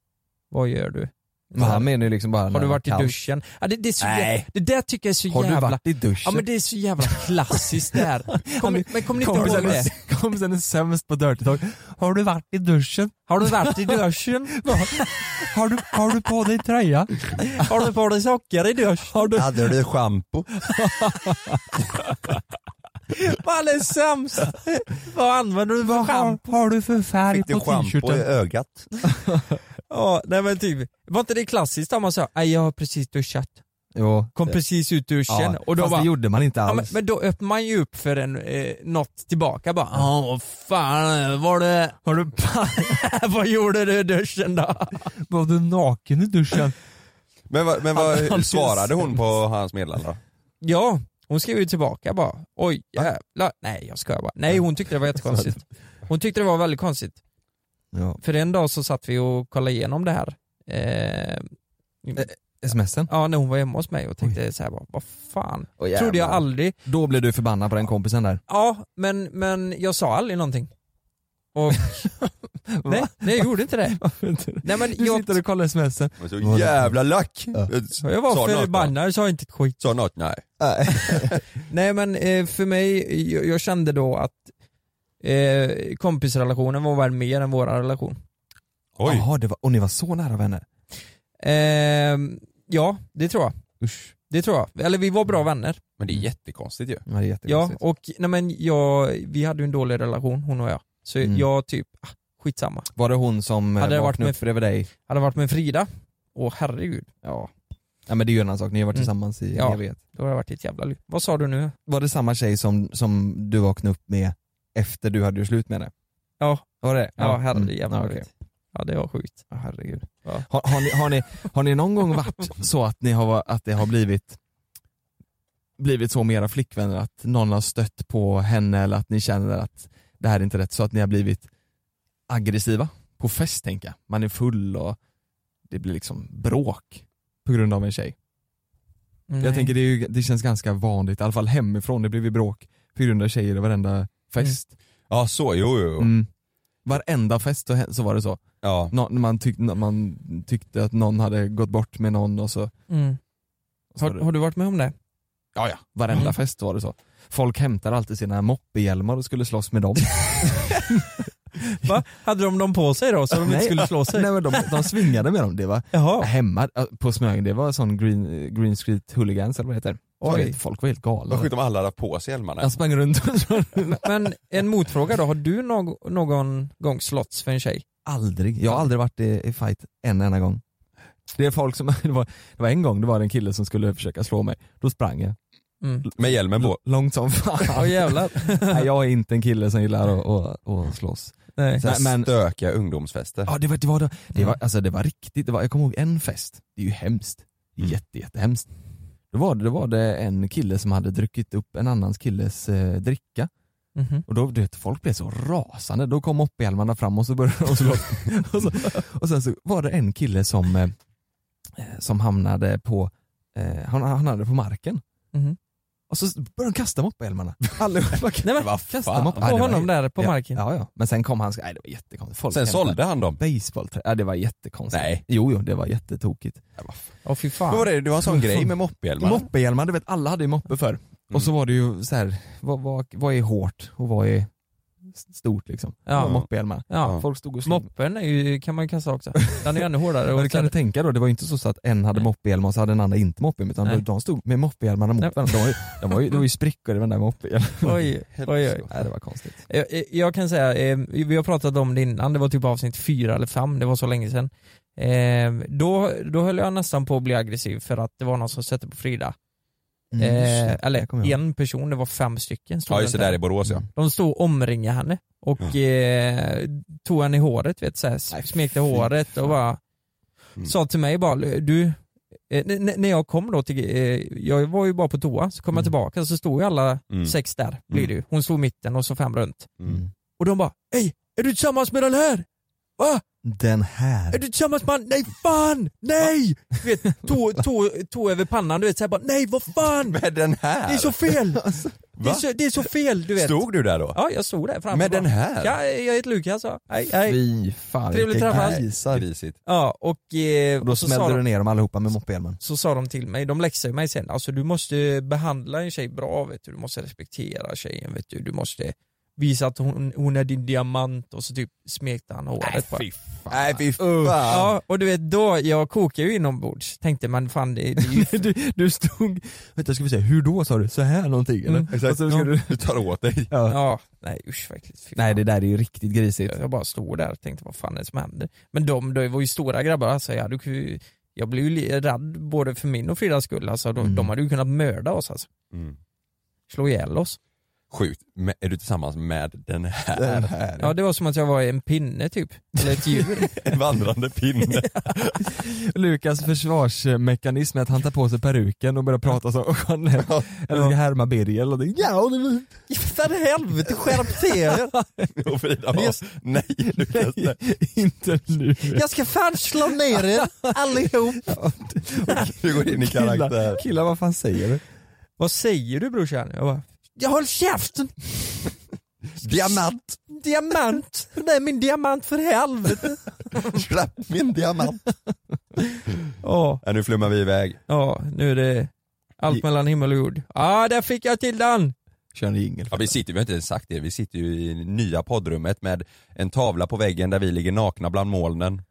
D: Vad gör du?
E: Men han menar ju liksom bara när
D: har
E: det
D: du
E: var
D: varit i
E: kallt.
D: duschen? Ja, det, det, är så
E: Nej.
D: jä- det där tycker jag är så
E: Har du
D: jävla...
E: varit i duschen?
D: Ja men det är så
E: (laughs)
D: jävla klassiskt det här. Kom, men kommer ni inte ihåg
E: Kompisen
D: det?
E: är, kompisen är sämst på Dirty Talk. Har du varit i duschen?
D: Har du varit i duschen?
E: (laughs) har, du, har du på dig tröja?
D: Har du på dig socker i dusch? Har du...
F: Hade du schampo?
D: Fan det är sämst! (laughs) Vad använder du för schampo?
E: Har du för färg
F: Fick du schampo i ögat?
D: Ja, nej men typ, var inte det klassiskt om man sa "Aj, jag har precis duschat?
E: Jo.
D: Kom precis ut ur duschen och då
E: Fast
D: bara,
E: det gjorde man inte
D: Ja,
E: alls.
D: men, men då öppnar man ju upp för en, eh, något tillbaka bara. Ja, vad fan var det...
E: Har du,
D: (laughs) vad gjorde du i duschen då?
E: var du naken i duschen?
F: Men, vad- men
D: Han- han är
F: vad svarade hon
D: sämst.
F: på hans meddelande då?
D: Ja, hon skrev ju tillbaka bara. Oj jävlar. Nej jag skojar bara. Nej hon tyckte det var jättekonstigt. (laughs) Hon tyckte det var väldigt konstigt.
E: Ja.
D: För en dag så satt vi och kollade igenom det här. Eh,
E: Smsen?
D: ja, när hon var hemma hos mig och tänkte så här bara, vad fan.
E: Åh,
D: Trodde jag
E: jävlar.
D: aldrig.
E: Då blev du förbannad på den kompisen där.
D: Ja, men, men jag sa aldrig någonting.
E: (laughs)
D: Och, nej, nej, jag gjorde inte det. Nej, men
E: Du
D: jag,
E: sitter och kollar smsen.
F: Jag var så jävla lack!
D: jag
F: Sa
D: var
F: något då?
D: förbannad, jag sa inte ett skit.
F: Sa något? Nej.
D: Nej men eh, för mig, jag, jag kände då att eh, kompisrelationen var värd mer än vår relation.
F: Oj.
E: Jaha, det var, och ni var så nära vänner?
D: Ehm, ja, det tror jag.
E: Usch.
D: Det tror jag. Eller vi var bra vänner.
F: Men det är jättekonstigt ju.
E: Ja, Mm. det är
D: Ja,
E: jättekonstigt.
D: och nej men jag, vi hade ju en dålig relation hon och jag. Så
E: Mm.
D: jag typ, ah, skitsamma.
E: Var det hon som eh,
D: Hade det varit
E: vaknade
D: med-
E: upp bredvid dig?
D: Hade varit med Frida, åh herregud.
E: Ja. Ja men det är ju en annan sak, ni har varit
D: Mm.
E: tillsammans i
D: Ja.
E: jag vet.
D: Då har det varit ett jävla liv. Vad sa du nu?
E: Var det samma tjej som, som du vaknade upp med efter du hade gjort slut med henne?
D: Ja.
E: Var det
D: Ja, herregud.
E: Mm.
D: jävla
E: Ja, okej.
D: skit. ja det var sjukt.
E: Ja, herregud.
D: Ja.
E: Har, har, ni, har, ni, har ni någon gång varit så att, ni har, att det har blivit blivit så med era flickvänner att någon har stött på henne eller att ni känner att det här är inte rätt så att ni har blivit aggressiva på fest tänker jag. Man är full och det blir liksom bråk på grund av en tjej.
D: Mm.
E: Jag tänker det, är ju, det känns ganska vanligt, i alla fall hemifrån, det blir ju bråk på grund av tjejer i varenda fest.
F: Ja så, jo jo. jo.
E: Mm. Varenda fest så, hä- så var det så.
F: Ja.
E: Nå, man, tyck, nå- man tyckte att någon hade gått bort med någon och så,
D: Mm.
E: och så
D: Har, har du varit med om det?
E: ja, ja. varenda
D: Mm.
E: fest var det så. Folk hämtade alltid sina moppehjälmar och skulle slåss med dem.
D: (laughs) Va? Hade de dem på sig då så de inte
E: Nej.
D: skulle slå sig?
E: Nej, men de, de svingade med dem, det var
D: Jaha.
E: hemma äh, på Smögen, det var sån green, eh, green street hooligans eller vad det heter. Så
D: Oj.
E: det- Folk var helt galna.
F: Vad sjukt om alla hade haft på sig hjälmarna.
E: Jag sprang runt och
D: Men en motfråga då, har du någ- någon gång slåtts för en tjej?
E: Aldrig, jag har aldrig varit i, i fight en enda gång. Det är folk som, (laughs) det var, det var en gång det var en kille som skulle försöka slå mig, då sprang jag.
D: Mm.
F: Med hjälmen på.
E: Långt som
D: Ja
E: fan.
D: jävlar.
E: (laughs) Nej, jag är inte en kille som gillar att, att, att slåss.
D: (laughs) Nej.
E: Så här, men,
F: Stökiga ungdomsfester.
E: ja, det, var, det, var, det,
D: Mm.
E: var, alltså, det var riktigt, det var, jag kommer ihåg en fest, det är ju hemskt. Det är
F: Mm.
E: jätte, jättehemskt. Då var, det, då var det en kille som hade druckit upp en annans killes eh, dricka
D: Mhm.
E: Och då, du vet, folk blev så rasande. Då kom moppehjälmarna fram och så började och, så, (laughs) och, så, och sen så var det en kille som, eh, som hamnade på, eh, han, han hamnade på marken.
D: Mhm.
E: Och så började de kasta mot på Elmarna.
D: (laughs)
E: Allihopa kastade mot
D: på honom där på marken.
E: Ja, ja. Men sen kom han, nej det var jättekonstigt.
F: Sen
E: hämtade
F: sålde han dem.
E: Baseballträ, ja det var jättekonstigt.
F: Nej.
E: Jo, jo det var jättetokigt.
D: Åh fy fan.
E: Vad var det, det var en sån grej med
F: moppehjälmar.
E: Moppehjälmar, du vet alla hade ju moppe förr. Och så var det ju så här, vad, vad, vad är hårt och vad är stort liksom?
D: Ja.
E: Ja. Moppehjälmar.
D: Ja.
E: Folk stod och slog.
D: Moppen är ju, kan man ju kasta också. Den är ju ännu
E: (laughs)
D: hårdare.
E: Men
D: Och
E: du kan du tänka då, det var ju inte så, så att en hade moppehjälm och så hade en annan inte moppehjälm utan
D: Nej.
E: de stod med moppehjälmarna mot
D: Nej.
E: varandra. De var ju, de var ju, det var ju sprickor i den där moppehjälmen.
D: Oj, oj, oj.
E: Nej, det var konstigt.
D: Jag, jag kan säga, eh, vi har pratat om det innan, det var typ avsnitt fyra eller fem, det var så länge sedan. Eh, då, då höll jag nästan på att bli aggressiv för att det var någon som satte på Frida.
E: Mm, just
D: Eh,
E: det. Det kommer
D: eller
E: jag ihåg.
D: en person, det var fem stycken. stod
F: Ja just det,
D: runt
F: där
D: henne.
F: i Borås ja.
D: De stod och omringade henne och eh, tog henne i håret, vet, så här, s- smekte håret och bara
F: Mm.
D: sa till mig bara, du, eh, n- n- när jag kom då till, eh, jag var ju bara på toa, så kom jag tillbaka så stod ju alla
F: Mm.
D: sex där, blir det ju. Hon stod i mitten och så fem runt.
F: Mm.
D: Och de bara, hej, är du tillsammans med den här? Va?
E: Den här.
D: Är du tillsammans med han? Nej fan, nej! Du vet, tå, tå, tå över pannan, du vet såhär bara, nej vad
F: (laughs)
D: fan!
F: Med den
D: Det
F: här?
D: är så fel! Det är
F: Va?
D: så, det är så fel, du vet.
F: Stod du där då?
D: Ja, jag stod där framför.
F: Med den
D: bara.
F: här?
D: Ja, jag heter Lukas. sa jag. Hej, hej.
E: Fy fan
D: Trevligt
E: vilka
D: träffas.
E: grisar.
F: Grisigt.
D: Ja, och, eh,
E: Och då
D: så, sa
E: smällde du
D: de,
E: ner dem allihopa med moppehjälmen.
D: så sa de till mig, de läxade mig sen, alltså du måste behandla en tjej bra vet du, du måste respektera tjejen vet du, du måste visa att hon, hon är din diamant och så typ smekte han håret på henne.
F: fan. Nej fy fan.
D: Usch. Ja, och du vet då, jag kokade ju inombords, tänkte man fan det, det är ju
E: Du, du stod, vänta ska vi se, hur då sa du? Så här någonting eller?
D: Mm.
E: Och så ska du,
F: Du tar åt dig.
E: ja.
D: Ja, nej usch verkligen. Fy
E: Nej
D: fan.
E: det där är ju riktigt grisigt.
D: Jag bara stod där och tänkte vad fan är det som händer? Men de, de var ju stora grabbar alltså, jag, hade, ju- jag blev ju li- rädd både för min och Fridas skull alltså, de,
E: Mm.
D: de hade ju kunnat mörda oss alltså.
F: Mm.
D: Slå ihjäl oss.
F: Sjukt. Men är du tillsammans med den här? (laughs)
E: Den här.
D: Ja det var som att jag var en pinne typ, eller ett djur.
F: En vandrande pinne.
E: Lukas försvarsmekanism är att han tar på sig peruken och börjar prata som Jeanette, eller ska härma Birger eller någonting. Ja, och det-
D: För helvete, skärp till er!
F: Och Frida bara, nej Lukas. Nej.
E: inte nu.
D: Jag ska fan slå ner er allihop!
F: Du går in i karaktär.
E: Killar, killar vad fan säger du?
D: Vad säger du brorsan? Jag bara, jag höll käften!
F: Diamant!
D: Diamant! Det är min diamant för helvete!
F: Släpp min diamant!
D: Ja,
F: Ja, nu flummar vi iväg.
D: ja nu är det allt mellan himmel och jord. Ja, ah, där fick jag till den!
E: Kör en jingel.
F: Ja, vi sitter, vi har inte ens sagt det, vi sitter ju i nya poddrummet med en tavla på väggen där vi ligger nakna bland molnen.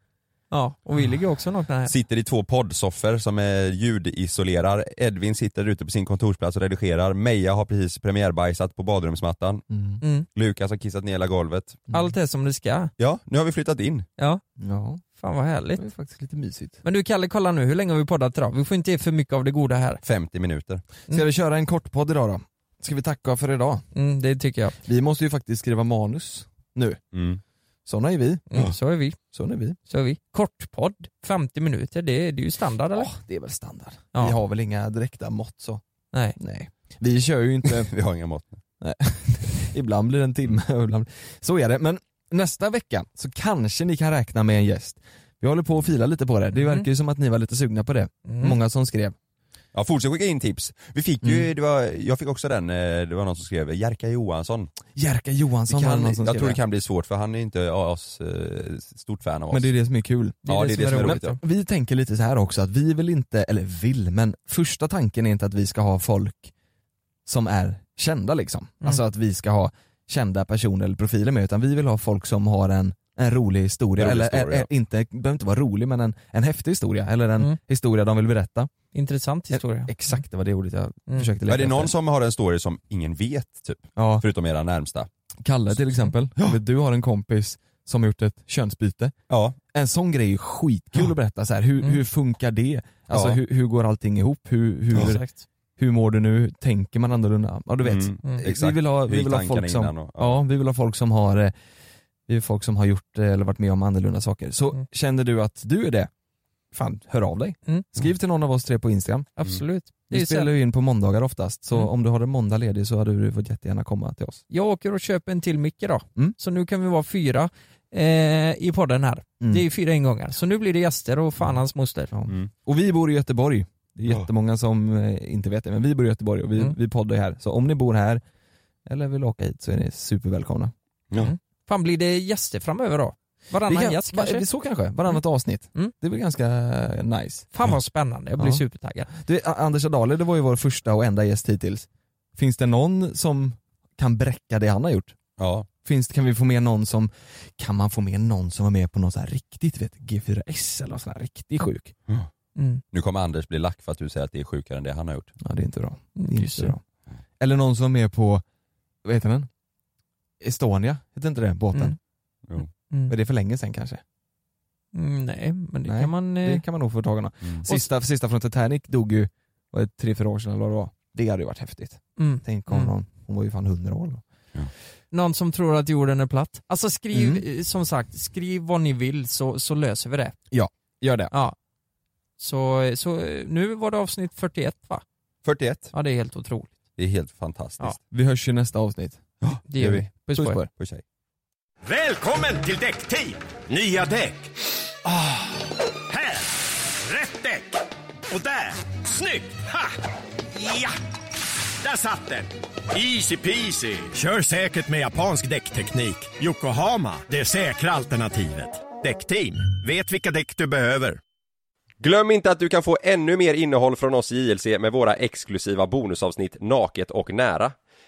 D: Ja, och vi ligger också nakna här.
F: Sitter i två poddsoffor som är ljudisolerar. Edvin sitter ute på sin kontorsplats och redigerar. Meja har precis premiärbajsat på badrumsmattan.
E: Mm.
D: Mm.
F: Lukas har kissat ner hela golvet.
D: Allt är som det ska.
F: Ja, nu har vi flyttat in.
D: Ja,
E: Ja,
D: fan vad
E: det
D: härligt.
E: är faktiskt lite mysigt.
D: Men du Kalle, kolla nu, hur länge har vi poddat idag? Vi får inte ge för mycket av det goda här.
F: 50 minuter.
E: Ska vi köra en kort podd idag då? Ska vi tacka för idag?
D: Mm, det tycker jag.
E: Vi måste ju faktiskt skriva manus nu.
F: Mm.
E: Såna är vi.
D: Mm, så är vi.
E: Såna är vi.
D: Så är vi. Kortpodd, 50 minuter, det, det är ju standard eller?
E: Ja, det är väl standard.
D: Ja.
E: Vi har väl inga direkta mått så.
D: Nej.
E: Nej. Vi kör
F: (laughs)
E: ju inte,
F: Vi har inga mått.
E: (laughs) ibland blir det en timme (laughs) och ibland Så är det, men nästa vecka så kanske ni kan räkna med en gäst. Vi håller på att fila lite på det. Det
D: Mm.
E: verkar ju som att ni var lite sugna på det.
D: Mm.
E: Många som skrev.
F: Ja, fortsätt skicka in tips. Vi fick ju, det var, jag fick också den, eh, det var någon som skrev, Jerka Johansson.
E: Jerka
F: Det
E: Johansson var det
F: kan,
E: någon som
F: jag tror det
E: skrev.
F: kan bli svårt för han är inte ja, oss, eh, stort fan av oss.
E: Men det är det som är kul.
F: Ja, det är det som är roligt,
E: Men Vi tänker lite så här också att vi vill inte, eller vill, men första tanken är inte att vi ska ha folk som är kända liksom.
F: Mm.
E: Alltså att vi ska ha kända personer eller profiler med utan vi vill ha folk som har en, en rolig historia,
F: Rolig
E: eller
F: historia.
E: Är, är, inte, behöver inte vara rolig men en, en häftig historia eller en
D: Mm.
E: historia de vill berätta.
D: Intressant historia.
E: Exakt det var det ordet jag
D: Mm.
E: försökte
F: Ja,
E: leta
F: det är någon
E: efter.
F: som har en story som ingen vet typ,
E: Ja,
F: förutom era närmsta.
E: Kalle till exempel, du har en kompis som har gjort ett könsbyte.
F: Ja,
E: en sån grej är ju skitkul att berätta så här. Hur,
D: Mm.
E: hur funkar det? Alltså
F: Ja.
E: hur, hur går allting ihop? Hur, hur,
D: Exakt.
E: hur mår du nu? Tänker man annorlunda? Ja du vet.
F: Mm,
D: Mm.
E: Vi
F: Exakt.
E: vill ha,
F: Hur
E: vi
F: gick
E: vill ha
F: tankarna
E: folk som,
F: innan och, ja.
E: ja, vi vill ha folk som har eh, vi vill ha folk som har gjort eh, eller varit med om annorlunda saker. Så
D: Mm.
E: känner du att du är det, fan hör av dig.
D: Mm.
E: Skriv till någon av oss tre på Instagram.
D: Absolut. Det är
E: Vi
D: ju
E: spelar
D: så här,
E: ju in på måndagar oftast, så
D: Mm.
E: om du har en måndag ledig så hade du fått jättegärna komma till oss.
D: jag åker och köper en till mick idag,
E: Mm.
D: så nu kan vi vara fyra eh, i podden här.
E: Mm.
D: Det är ju fyra ingångar, så nu blir det gäster och fan hans moster.
E: Ja.
F: Mm.
E: Och vi bor i Göteborg, Det är jättemånga som eh, inte vet det, men vi bor i Göteborg och vi,
D: Mm.
E: vi poddar ju här. Så om ni bor här eller vill åka hit så är ni supervälkomna.
D: Mm. Fan blir det gäster framöver då? Varannan
E: Det kan-
D: gäst
E: va-
D: kanske? Mm.
E: Så kanske, varannat avsnitt. Det blir ganska eh, nice.
D: Fan vad spännande, jag blir
E: Ja.
D: supertaggad.
E: Du, A- Anders Adaler, det var ju vår första och enda gäst hittills. Finns det någon som kan bräcka det han har gjort?
F: Ja.
E: Finns det, kan vi få med någon som, kan man få med någon som var med på någon sån här riktigt, vet, G4S eller någon sån här riktigt sjuk?
F: Nu kommer Anders bli lack för att du säger att det är sjukare än det han har gjort.
E: Ja det är inte bra. Det är
F: just
E: inte
F: det.
E: bra. Eller någon som är med på, vad heter den? Estonia, heter inte det båten?
D: Mm. Mm.
E: Men det är för länge sedan kanske?
D: Mm, nej, men det
E: Nej,
D: kan man... eh,
E: Det kan man nog få tag i någon. Sista, sista från Titanic dog ju, var det tre, fyra år sedan eller vad det var? Det hade ju varit häftigt.
D: Mm.
E: Tänk om
D: Mm.
E: någon, hon var ju fan 100 år då.
D: Någon som tror att jorden är platt? Alltså skriv,
E: Mm.
D: eh, som sagt, skriv vad ni vill så, så löser vi det.
E: Ja, gör det.
D: Ja. Så, så eh, nu var det avsnitt 41 va?
F: 41.
D: Ja det är helt otroligt.
F: Det är helt fantastiskt.
D: Ja.
E: Vi hörs ju nästa avsnitt.
D: Det gör vi. Puss på er.
F: Puss hej.
A: Välkommen till Däckteam! Nya däck. Ah, här! Rätt däck! Och där! Snyggt! Ha! Ja! Där satt den! Easy peasy! Kör säkert med japansk däckteknik. Yokohama, det säkra alternativet. Däckteam, vet vilka däck du behöver.
N: Glöm inte att du kan få ännu mer innehåll från oss i JLC med våra exklusiva bonusavsnitt Naket och nära.